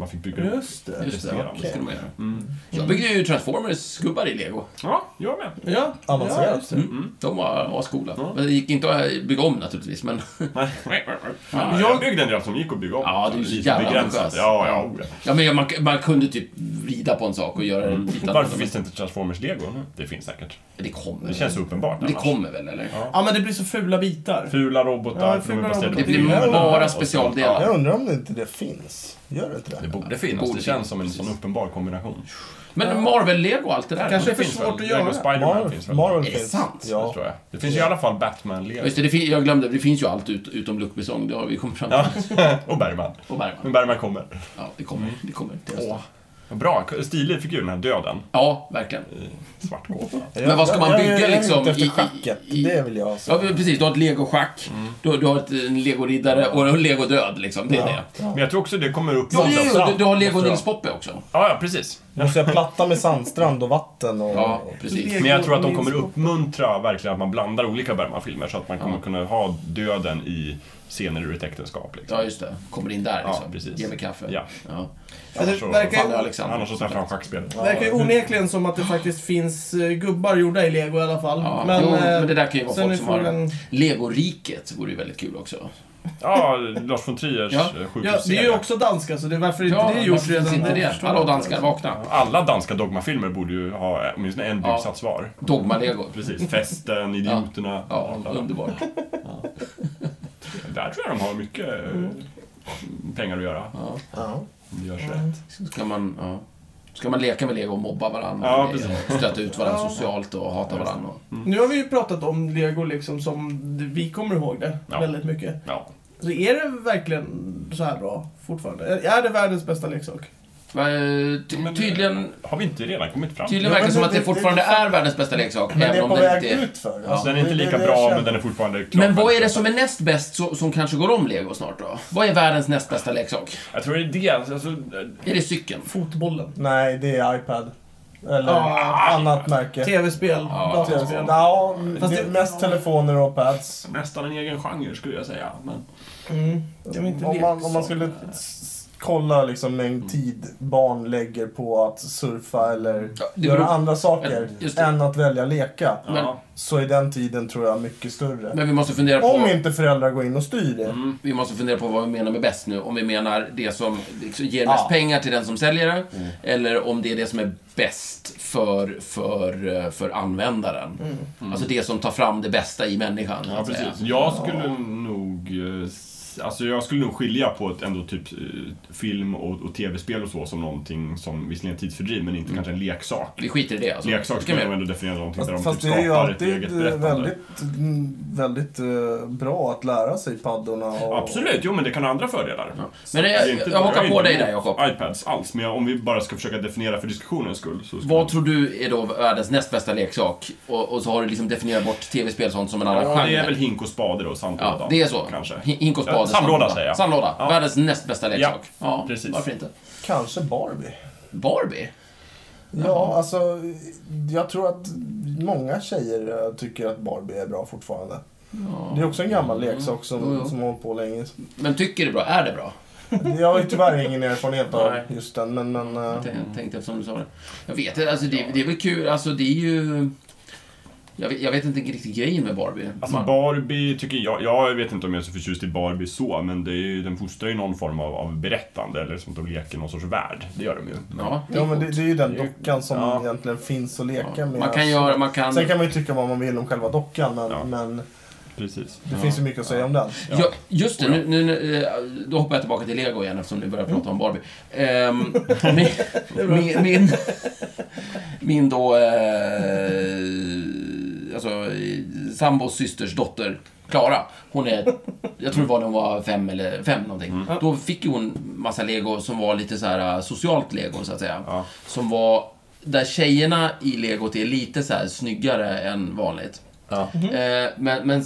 D: Man fick bygga upp.
A: Just det.
B: Mm. Just det, ja, det skulle man göra.
D: Mm.
B: Jag byggde ju Transformers-gubbar i lego.
D: Ja, jag med.
A: Ja.
C: Avancerat.
A: Ja, just det.
B: Mm. De var ascoola.
D: Ja.
B: Men Det gick inte att bygga om naturligtvis, men...
D: Nej.
B: Ja,
D: Jag byggde en del som gick att bygga om.
B: Ja, det är ju så
D: Lite
B: jävla
D: begränsat.
B: ambitiöst.
D: Ja, ja, oh, ja.
B: Ja, men man, man kunde typ vrida på en sak och göra den lite
D: Mm. Varför
B: annorlunda.
D: finns det inte Transformers-lego nu? Det finns säkert.
B: Det kommer
D: Det känns så uppenbart
B: Det
D: annars.
B: kommer väl, eller?
D: Ja.
A: ja, men det blir så fula bitar.
D: Fula robotar,
A: Ja,
D: för de
A: fula
D: är baserade
A: robotar.
B: Det
D: på
B: blir
D: filmer.
B: bara
D: Och så-
B: specialdelar.
D: Ja,
C: Jag undrar om det inte det finns. Gör det inte
D: Det
C: det?
D: borde finnas.
B: Borde
D: det känns
B: finnas,
D: som en
B: precis.
D: sån uppenbar kombination.
B: Men Marvel, Lego och allt det där.
A: Kanske- Det är för
D: finns
A: svårt
D: väl.
A: att göra.
D: Lego Spiderman
C: Marvel,
D: finns väl?
C: Marvel
B: Är det
C: finns.
B: sant?
D: Det
C: Ja.
D: tror jag. Det finns ju i alla fall Batman-Lego.
B: Just det, det fin- jag glömde, det finns ju allt ut, utom Luckbysång. Det har vi kommit fram till.
D: Ja, och Bergman.
B: Och Bergman.
D: Men Bergman kommer.
B: Ja, det kommer. Det kommer. till hösten.
D: Åh, vad bra. Stilig figur, den här döden.
B: Ja, verkligen.
D: i Svart kåpa.
B: Men vad ska man
C: Jag- jag-
B: bygga
C: jag är ute
B: liksom
C: efter
B: i- i-
C: schacket.
B: i-
C: Det vill jag ha. så.
B: Ja, men precis. Du har ett legoschack, du, du har ett, en legoriddare och en legodöd, liksom. Det är det.
C: Ja.
D: Men jag tror också det kommer upp
B: Ja, jo, jo,
D: någonstans.
B: du, du har lego Nils Poppe också.
D: Ja, ja, precis.
C: Måste jag platta med sandstrand och vatten och...
B: Ja, precis.
D: Men jag tror att de kommer uppmuntra verkligen att man blandar olika Bergman-filmer så att man kommer kunna ha döden i scener ur ett äktenskap.
B: Ja,
D: Liksom.
B: just det. Kommer in där,
D: Ja,
B: liksom.
D: precis.
B: Ge mig kaffe.
D: Ja.
B: Ja.
A: Ja, det
D: Annars så-
A: verkar
B: Fanny och
A: ju,
B: Alexander.
D: Annars så träffar han schackspelet.
A: verkar ju onekligen som att det faktiskt finns eh, gubbar gjorda i lego i alla fall.
B: Ja, men, jo,
A: eh,
B: men det där kan ju vara
A: sen
B: folk
A: är
B: som har...
A: frågan-
B: Legoriket vore ju väldigt kul också.
D: Ja, Lars von Triers
B: Ja.
D: eh,
A: Ja, det är
D: sjukhusserie.
A: ju också danska, så det är varför inte
B: Ja,
A: det är gjort
B: varför
A: redan.
B: finns inte det? Hallå danskar, vakna.
D: Alla danska dogmafilmer borde ju ha åtminstone en
B: Ja.
D: byggsats var.
B: Dogma-lego.
D: Precis. Festen, Idioterna.
B: Ja,
D: alla.
B: underbart.
D: Där tror jag de har mycket eh,
B: Mm.
D: pengar att göra.
B: Ja.
C: Ja.
D: Det görs rätt.
A: Mm.
B: Ska man, ja. Ska man leka med lego och mobba varandra?
D: Ja,
B: och
D: precis.
B: Stöta ut varandra socialt och hata varandra?
C: Mm.
A: Nu har vi ju pratat om lego liksom som vi kommer ihåg det
D: Ja.
A: väldigt mycket.
D: Ja.
A: Så är det verkligen så här bra fortfarande? Är det världens bästa leksak?
B: Va, eh, Ty tydligen
D: Har vi inte redan kommit fram?
B: tydligen
C: Ja,
B: verkar det
C: men
B: som
C: det-
B: att det
C: det-
B: fortfarande
C: det-
B: är världens bästa leksak.
C: Men det är
B: även
C: på
B: om den
C: väg
B: inte är...
C: ut för.
D: Alltså, den är inte
C: Det- det-
D: lika
C: det
D: bra,
C: känns-
D: men den är fortfarande klart
B: Men vad är det
D: bäst.
B: som är näst bäst så, som kanske går om lego snart då? Vad är världens näst bästa leksak?
D: Jag tror det är det. Alltså, eh,
B: Är det cykeln?
A: Fotbollen.
C: Nej, det är iPad. Eller
A: Ah.
C: annat märke.
A: Tv-spel, dataspel.
C: Ja,
A: Fast
C: det är
A: det-
C: mest telefoner och pads.
D: nästan en egen genre skulle jag säga. Men...
A: Mm. Det var inte
C: Om man, om man
A: leksak.
C: skulle s- kolla liksom
B: Mm.
C: mängd tid barn lägger på att surfa eller
B: Ja, det
C: göra
B: beror-
C: andra saker
B: Ja, just det.
C: än att välja leka.
B: Men-
D: Ja.
C: Så är den tiden tror jag mycket större.
B: Men Mm. vi måste fundera på...
C: om inte föräldrar går in och styr det.
B: Vi måste fundera på vad vi menar med bäst nu. Om vi menar det som liksom ger mest
C: Ja.
B: pengar till den som säljer det.
D: Mm.
B: Eller om det är det som är bäst för, för, eh, för användaren. Alltså det som tar fram det bästa i människan. så
D: Mm. ja,
B: att säga.
D: precis. Jag skulle nog... eh, s- Alltså jag skulle nog skilja på ett ändå typ eh, film och, och tv-spel och så som någonting som visserligen är tidsfördriv men inte kanske en leksak.
B: Vi skiter i det Mm. alltså.
D: Leksak
B: Ska
D: skulle
B: vi-
D: jag nog ändå definiera någonting
C: Fast,
D: där de
C: fast
D: typ
C: det är ju
D: skapar ett eget
C: alltid eh,
D: berättande.
C: väldigt, mm, väldigt eh, bra att lära sig paddorna. Och...
D: Absolut, jo men det kan ha andra fördelar.
B: Men det,
D: Det är
B: jag,
D: inte-
B: jag
D: jag
B: hakar
D: är
B: på
D: inte
B: dig där
D: emot
B: Jakob.
D: iPads alls, men jag, om vi bara ska försöka definiera för diskussionens skull. Så skulle
B: Vad tror du är då världens näst bästa leksak? Och, och så har du liksom definierat bort tv-spel och sånt som en annan
D: Ja,
B: genre.
D: det är väl hink och spade då, sandlåda.
B: Ja, det är så.
D: Kanske.
B: Hin- Hink och spade.
D: Jag sandlåda säger jag.
B: Sandlåda.
D: Ja.
B: Världens näst bästa leksak.
D: Ja,
B: Ja,
D: precis.
B: Varför inte?
C: Kanske Barbie.
B: Barbie?
C: Ja, alltså jag tror att många tjejer eh, tycker att Barbie är bra fortfarande. Det är också en gammal
A: Mm.
C: leksak som,
B: Jo, jo.
C: som har hållit på länge.
B: Men tycker det är bra? Är det bra?
C: Jag har ju tyvärr ingen erfarenhet av
B: Nej.
C: just den, men... men eh,
B: Jag tän- tänkte eftersom du sa det. Jag vet inte, alltså det, det är väl kul, alltså det är ju... Jag vet, jag vet inte riktigt grejen med Barbie.
D: Alltså
B: Man-
D: Barbie tycker jag, jag vet inte om jag är så förtjust i Barbie så, men det är ju, den fostrar ju någon form av, av berättande eller sånt och leker någon sorts värld. Det gör de ju.
B: ja,
C: ja, men det, det är ju den
D: Det är ju-
C: dockan som
D: ja.
C: egentligen finns att leka med.
B: Man kan göra, man kan...
C: Sen kan man ju tycka vad man vill om själva dockan, men,
D: Ja.
C: men
D: Precis.
C: det finns ju mycket att säga om den.
B: Ja. just det, nu, nu, nu, eh, då hoppar jag tillbaka till Lego igen eftersom ni börjar prata om Barbie. Ehm, min, min, min, min då, eh, alltså eh, sambos systers dotter, Klara, hon är, jag tror det var när hon var fem eller fem någonting. Då fick ju hon massa Lego som var lite så här eh, socialt Lego så att säga.
D: Ja.
B: Som var, där tjejerna i Legot är lite så här snyggare än vanligt.
D: Ja.
B: Eh, men, men,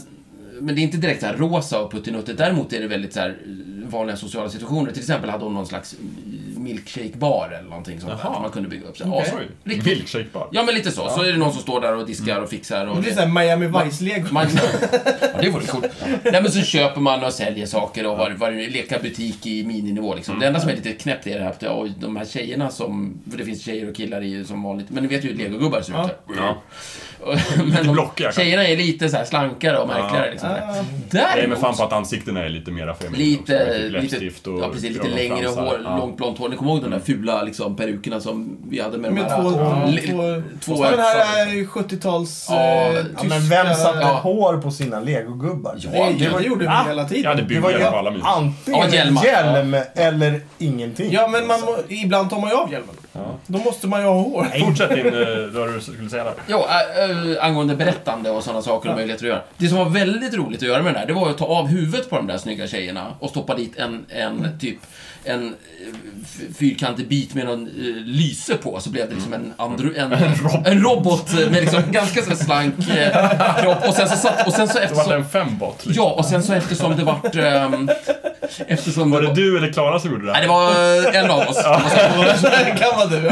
B: men det är inte direkt så här rosa och puttinuttigt. Däremot är det väldigt så här eh, vanliga sociala situationer. Till exempel hade hon någon slags eh, milkshake-bar eller någonting sånt där.
D: Jaha.
B: som Man kunde bygga upp. Så här,
A: Okej.
B: as-
D: Oj,
B: Riktigt.
D: milkshake-bar.
B: Ja, men lite så. Så är det någon som står där och diskar och fixar. Och
A: Det blir såhär Miami Vice-lego.
B: man, ja, det vore coolt. Nej, men så köper man och säljer saker och har, var, leka butik i mininivå. Liksom. Det enda som är lite knäppt är det här att ja, oj, de här tjejerna som... För det finns tjejer och killar i ju som vanligt. Men ni vet ju hur legogubbar ser ut. där.
D: Ja.
B: Och- Men de-
D: blockiga, kanske.
B: tjejerna är lite så här slankare och märkligare. Liksom.
A: Ah.
D: Jag är med
B: Däremot,
D: fan på att ansiktena är lite mera feminina också, med
B: lite,
D: typ läppstift
B: lite,
D: och
B: ja, precis, lite
D: ögonfransar.
B: längre hår,
D: Ja.
B: långt blont hår. Ni kommer ihåg de där fula liksom, perukerna som vi hade med,
A: Med
B: de här...
A: två...
B: li-
A: två,
B: två
A: den här
B: ärtsar.
A: eh, 70-tals
B: Ja,
A: eh,
B: ja,
C: Ja, men vem satte
B: Ja.
C: hår på sina legogubbar?
B: Ja,
A: Nej, det gjorde vi
D: Ah,
A: hela
D: Jag hade
A: tiden.
C: Det
D: byggt
C: var ju
D: det på alla mina.
C: antingen
B: Ja, hjälmar.
C: hjälm eller ingenting.
A: Ja, men man, må- ibland tar man ju av hjälmen. Då måste man ju ha hår.
D: Fortsätt din, eh, vad du skulle säga där.
B: Ja, äh, äh, angående berättande och sådana saker och möjligheter att göra. Det som var väldigt roligt att göra med den här, det var ju att ta av huvudet på de där snygga tjejerna och stoppa dit en,
D: Mm.
B: en typ en eh, f- fyrkantig bit med någon eh, lyse på, så blev det liksom
D: Mm.
B: en, andro, en, en robot med liksom ganska så här slank eh, kropp. Och sen så, satt, och sen så
D: Det var
B: eftersom,
D: en fembot. Liksom.
B: ja, och sen så eftersom det vart... ehm, eftersom
D: Var det du eller Klara som gjorde det?
B: Nej,
D: här?
B: det var en av oss.
A: Det kan vara du.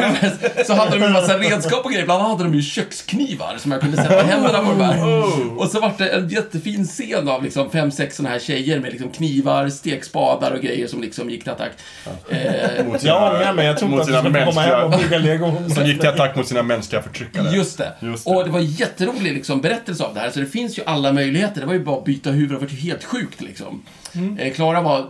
A: ja.
B: Så hade de en massa redskap och grejer. Bland annat hade de ju köksknivar som jag kunde
D: Oh.
B: sätta händerna på. de här. Och så var det en jättefin scen av liksom fem, sex såna här tjejer med liksom knivar, stekspadar och grejer som liksom gick till attack. Eh,
D: Mot sina,
C: Jag ångrar mig. Jag trodde
D: mot
C: att du
D: sina
C: skulle komma hem och
D: mänskliga...
C: bygga lego.
D: Som gick till attack mot sina mänskliga förtryckare.
B: Just det.
D: Just det.
B: Och det var en jätterolig liksom, berättelse av det här. Så det finns ju alla möjligheter. Det var ju bara att byta huvud. Det var ju helt sjukt liksom.
D: Mm.
B: Eh, Klara var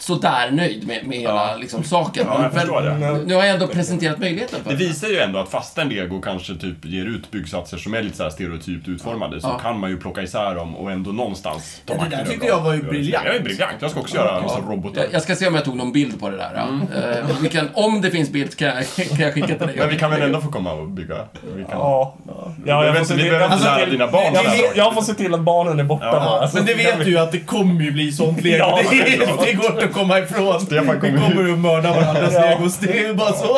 B: sådär nöjd med, med hela liksom, saken.
D: Ja, jag förstår det.
B: Nu har jag ändå presenterat möjligheten för
D: Det visar ju ändå att fastän lego kanske typ ger ut byggsatser som är lite så här stereotypt utformade så
B: Ja.
D: kan man ju plocka isär dem och ändå någonstans ta
A: Ja, det
D: makten
A: där
D: över
A: tyckte
D: dem.
A: jag var ju briljant.
D: Jag är briljant. Jag ska också göra en massa robotar.
B: Jag, jag ska se om jag tog någon bild på det där. Ja. Eh, vi kan, om det finns bild kan jag, kan jag skicka till dig.
D: Mm. Men vi kan väl ändå få komma och bygga? Vi kan.
C: Ja.
D: Vi
C: Ja,
D: behöver
C: jag får
D: inte-
C: se
D: vi
C: till-
D: behöver
C: jag
D: inte
C: får se
D: lära
C: till-
D: dina barn
C: jag
D: den här
C: får-
D: saken.
C: Jag får se till att barnen är borta
D: Ja.
C: bara. Så
A: Men det vet du ju att det kommer ju bli sånt lego.
C: Alltså, Ja,
A: det, är, det går inte att komma ifrån.
D: Stefan
A: Vi
D: kommer
A: kommer ju mörda varandras
C: Ja.
A: legos. Det är ju bara så.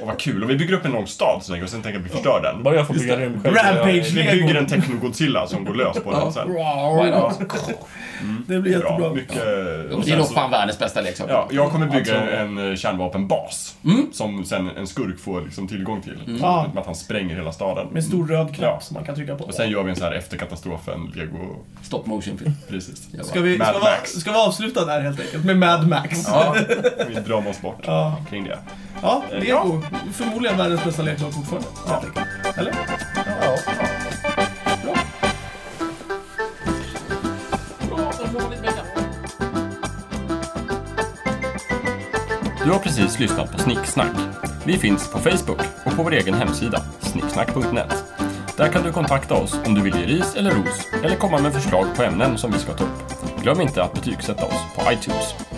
D: Och vad kul. Och vi bygger upp en lång stad så länge och sen tänker jag att vi förstör den.
C: Bara jag får bygga rymdskepp.
A: Rampage.
D: Vi bygger en Technogodzilla som går lös på den sen.
B: Why not?
A: Det blir
D: Bra.
A: jättebra.
D: Mycket... och
B: Det är
D: sen
B: nog
D: så-
B: fan världens bästa leksak.
D: Ja, jag kommer
E: Alltså-
D: bygga en eh, kärnvapenbas
E: Mm.
D: som sen en skurk får liksom tillgång till.
A: Ja.
D: Med att han spränger hela staden.
A: Med stor röd knapp
D: Ja.
A: som man kan trycka på.
D: Och sen gör vi en så här efter katastrofen, lego...
B: Stop motion-film.
D: Precis.
A: Ska vi, ska,
D: Mad
A: vi,
D: Max.
A: ska vi avsluta där helt enkelt med Mad Max? Ja,
B: Ja,
D: Vi drömmer oss bort
A: Ja.
D: kring det.
A: Lego. Förmodligen världens bästa leksak fortfarande.
D: Ja.
A: Eller?
C: Ja.
E: Du har precis lyssnat på Snicksnack. Vi finns på Facebook och på vår egen hemsida, snicksnack.net. Där kan du kontakta oss om du vill ge ris eller ros eller komma med förslag på ämnen som vi ska ta upp. Glöm inte att betygsätta oss på iTunes.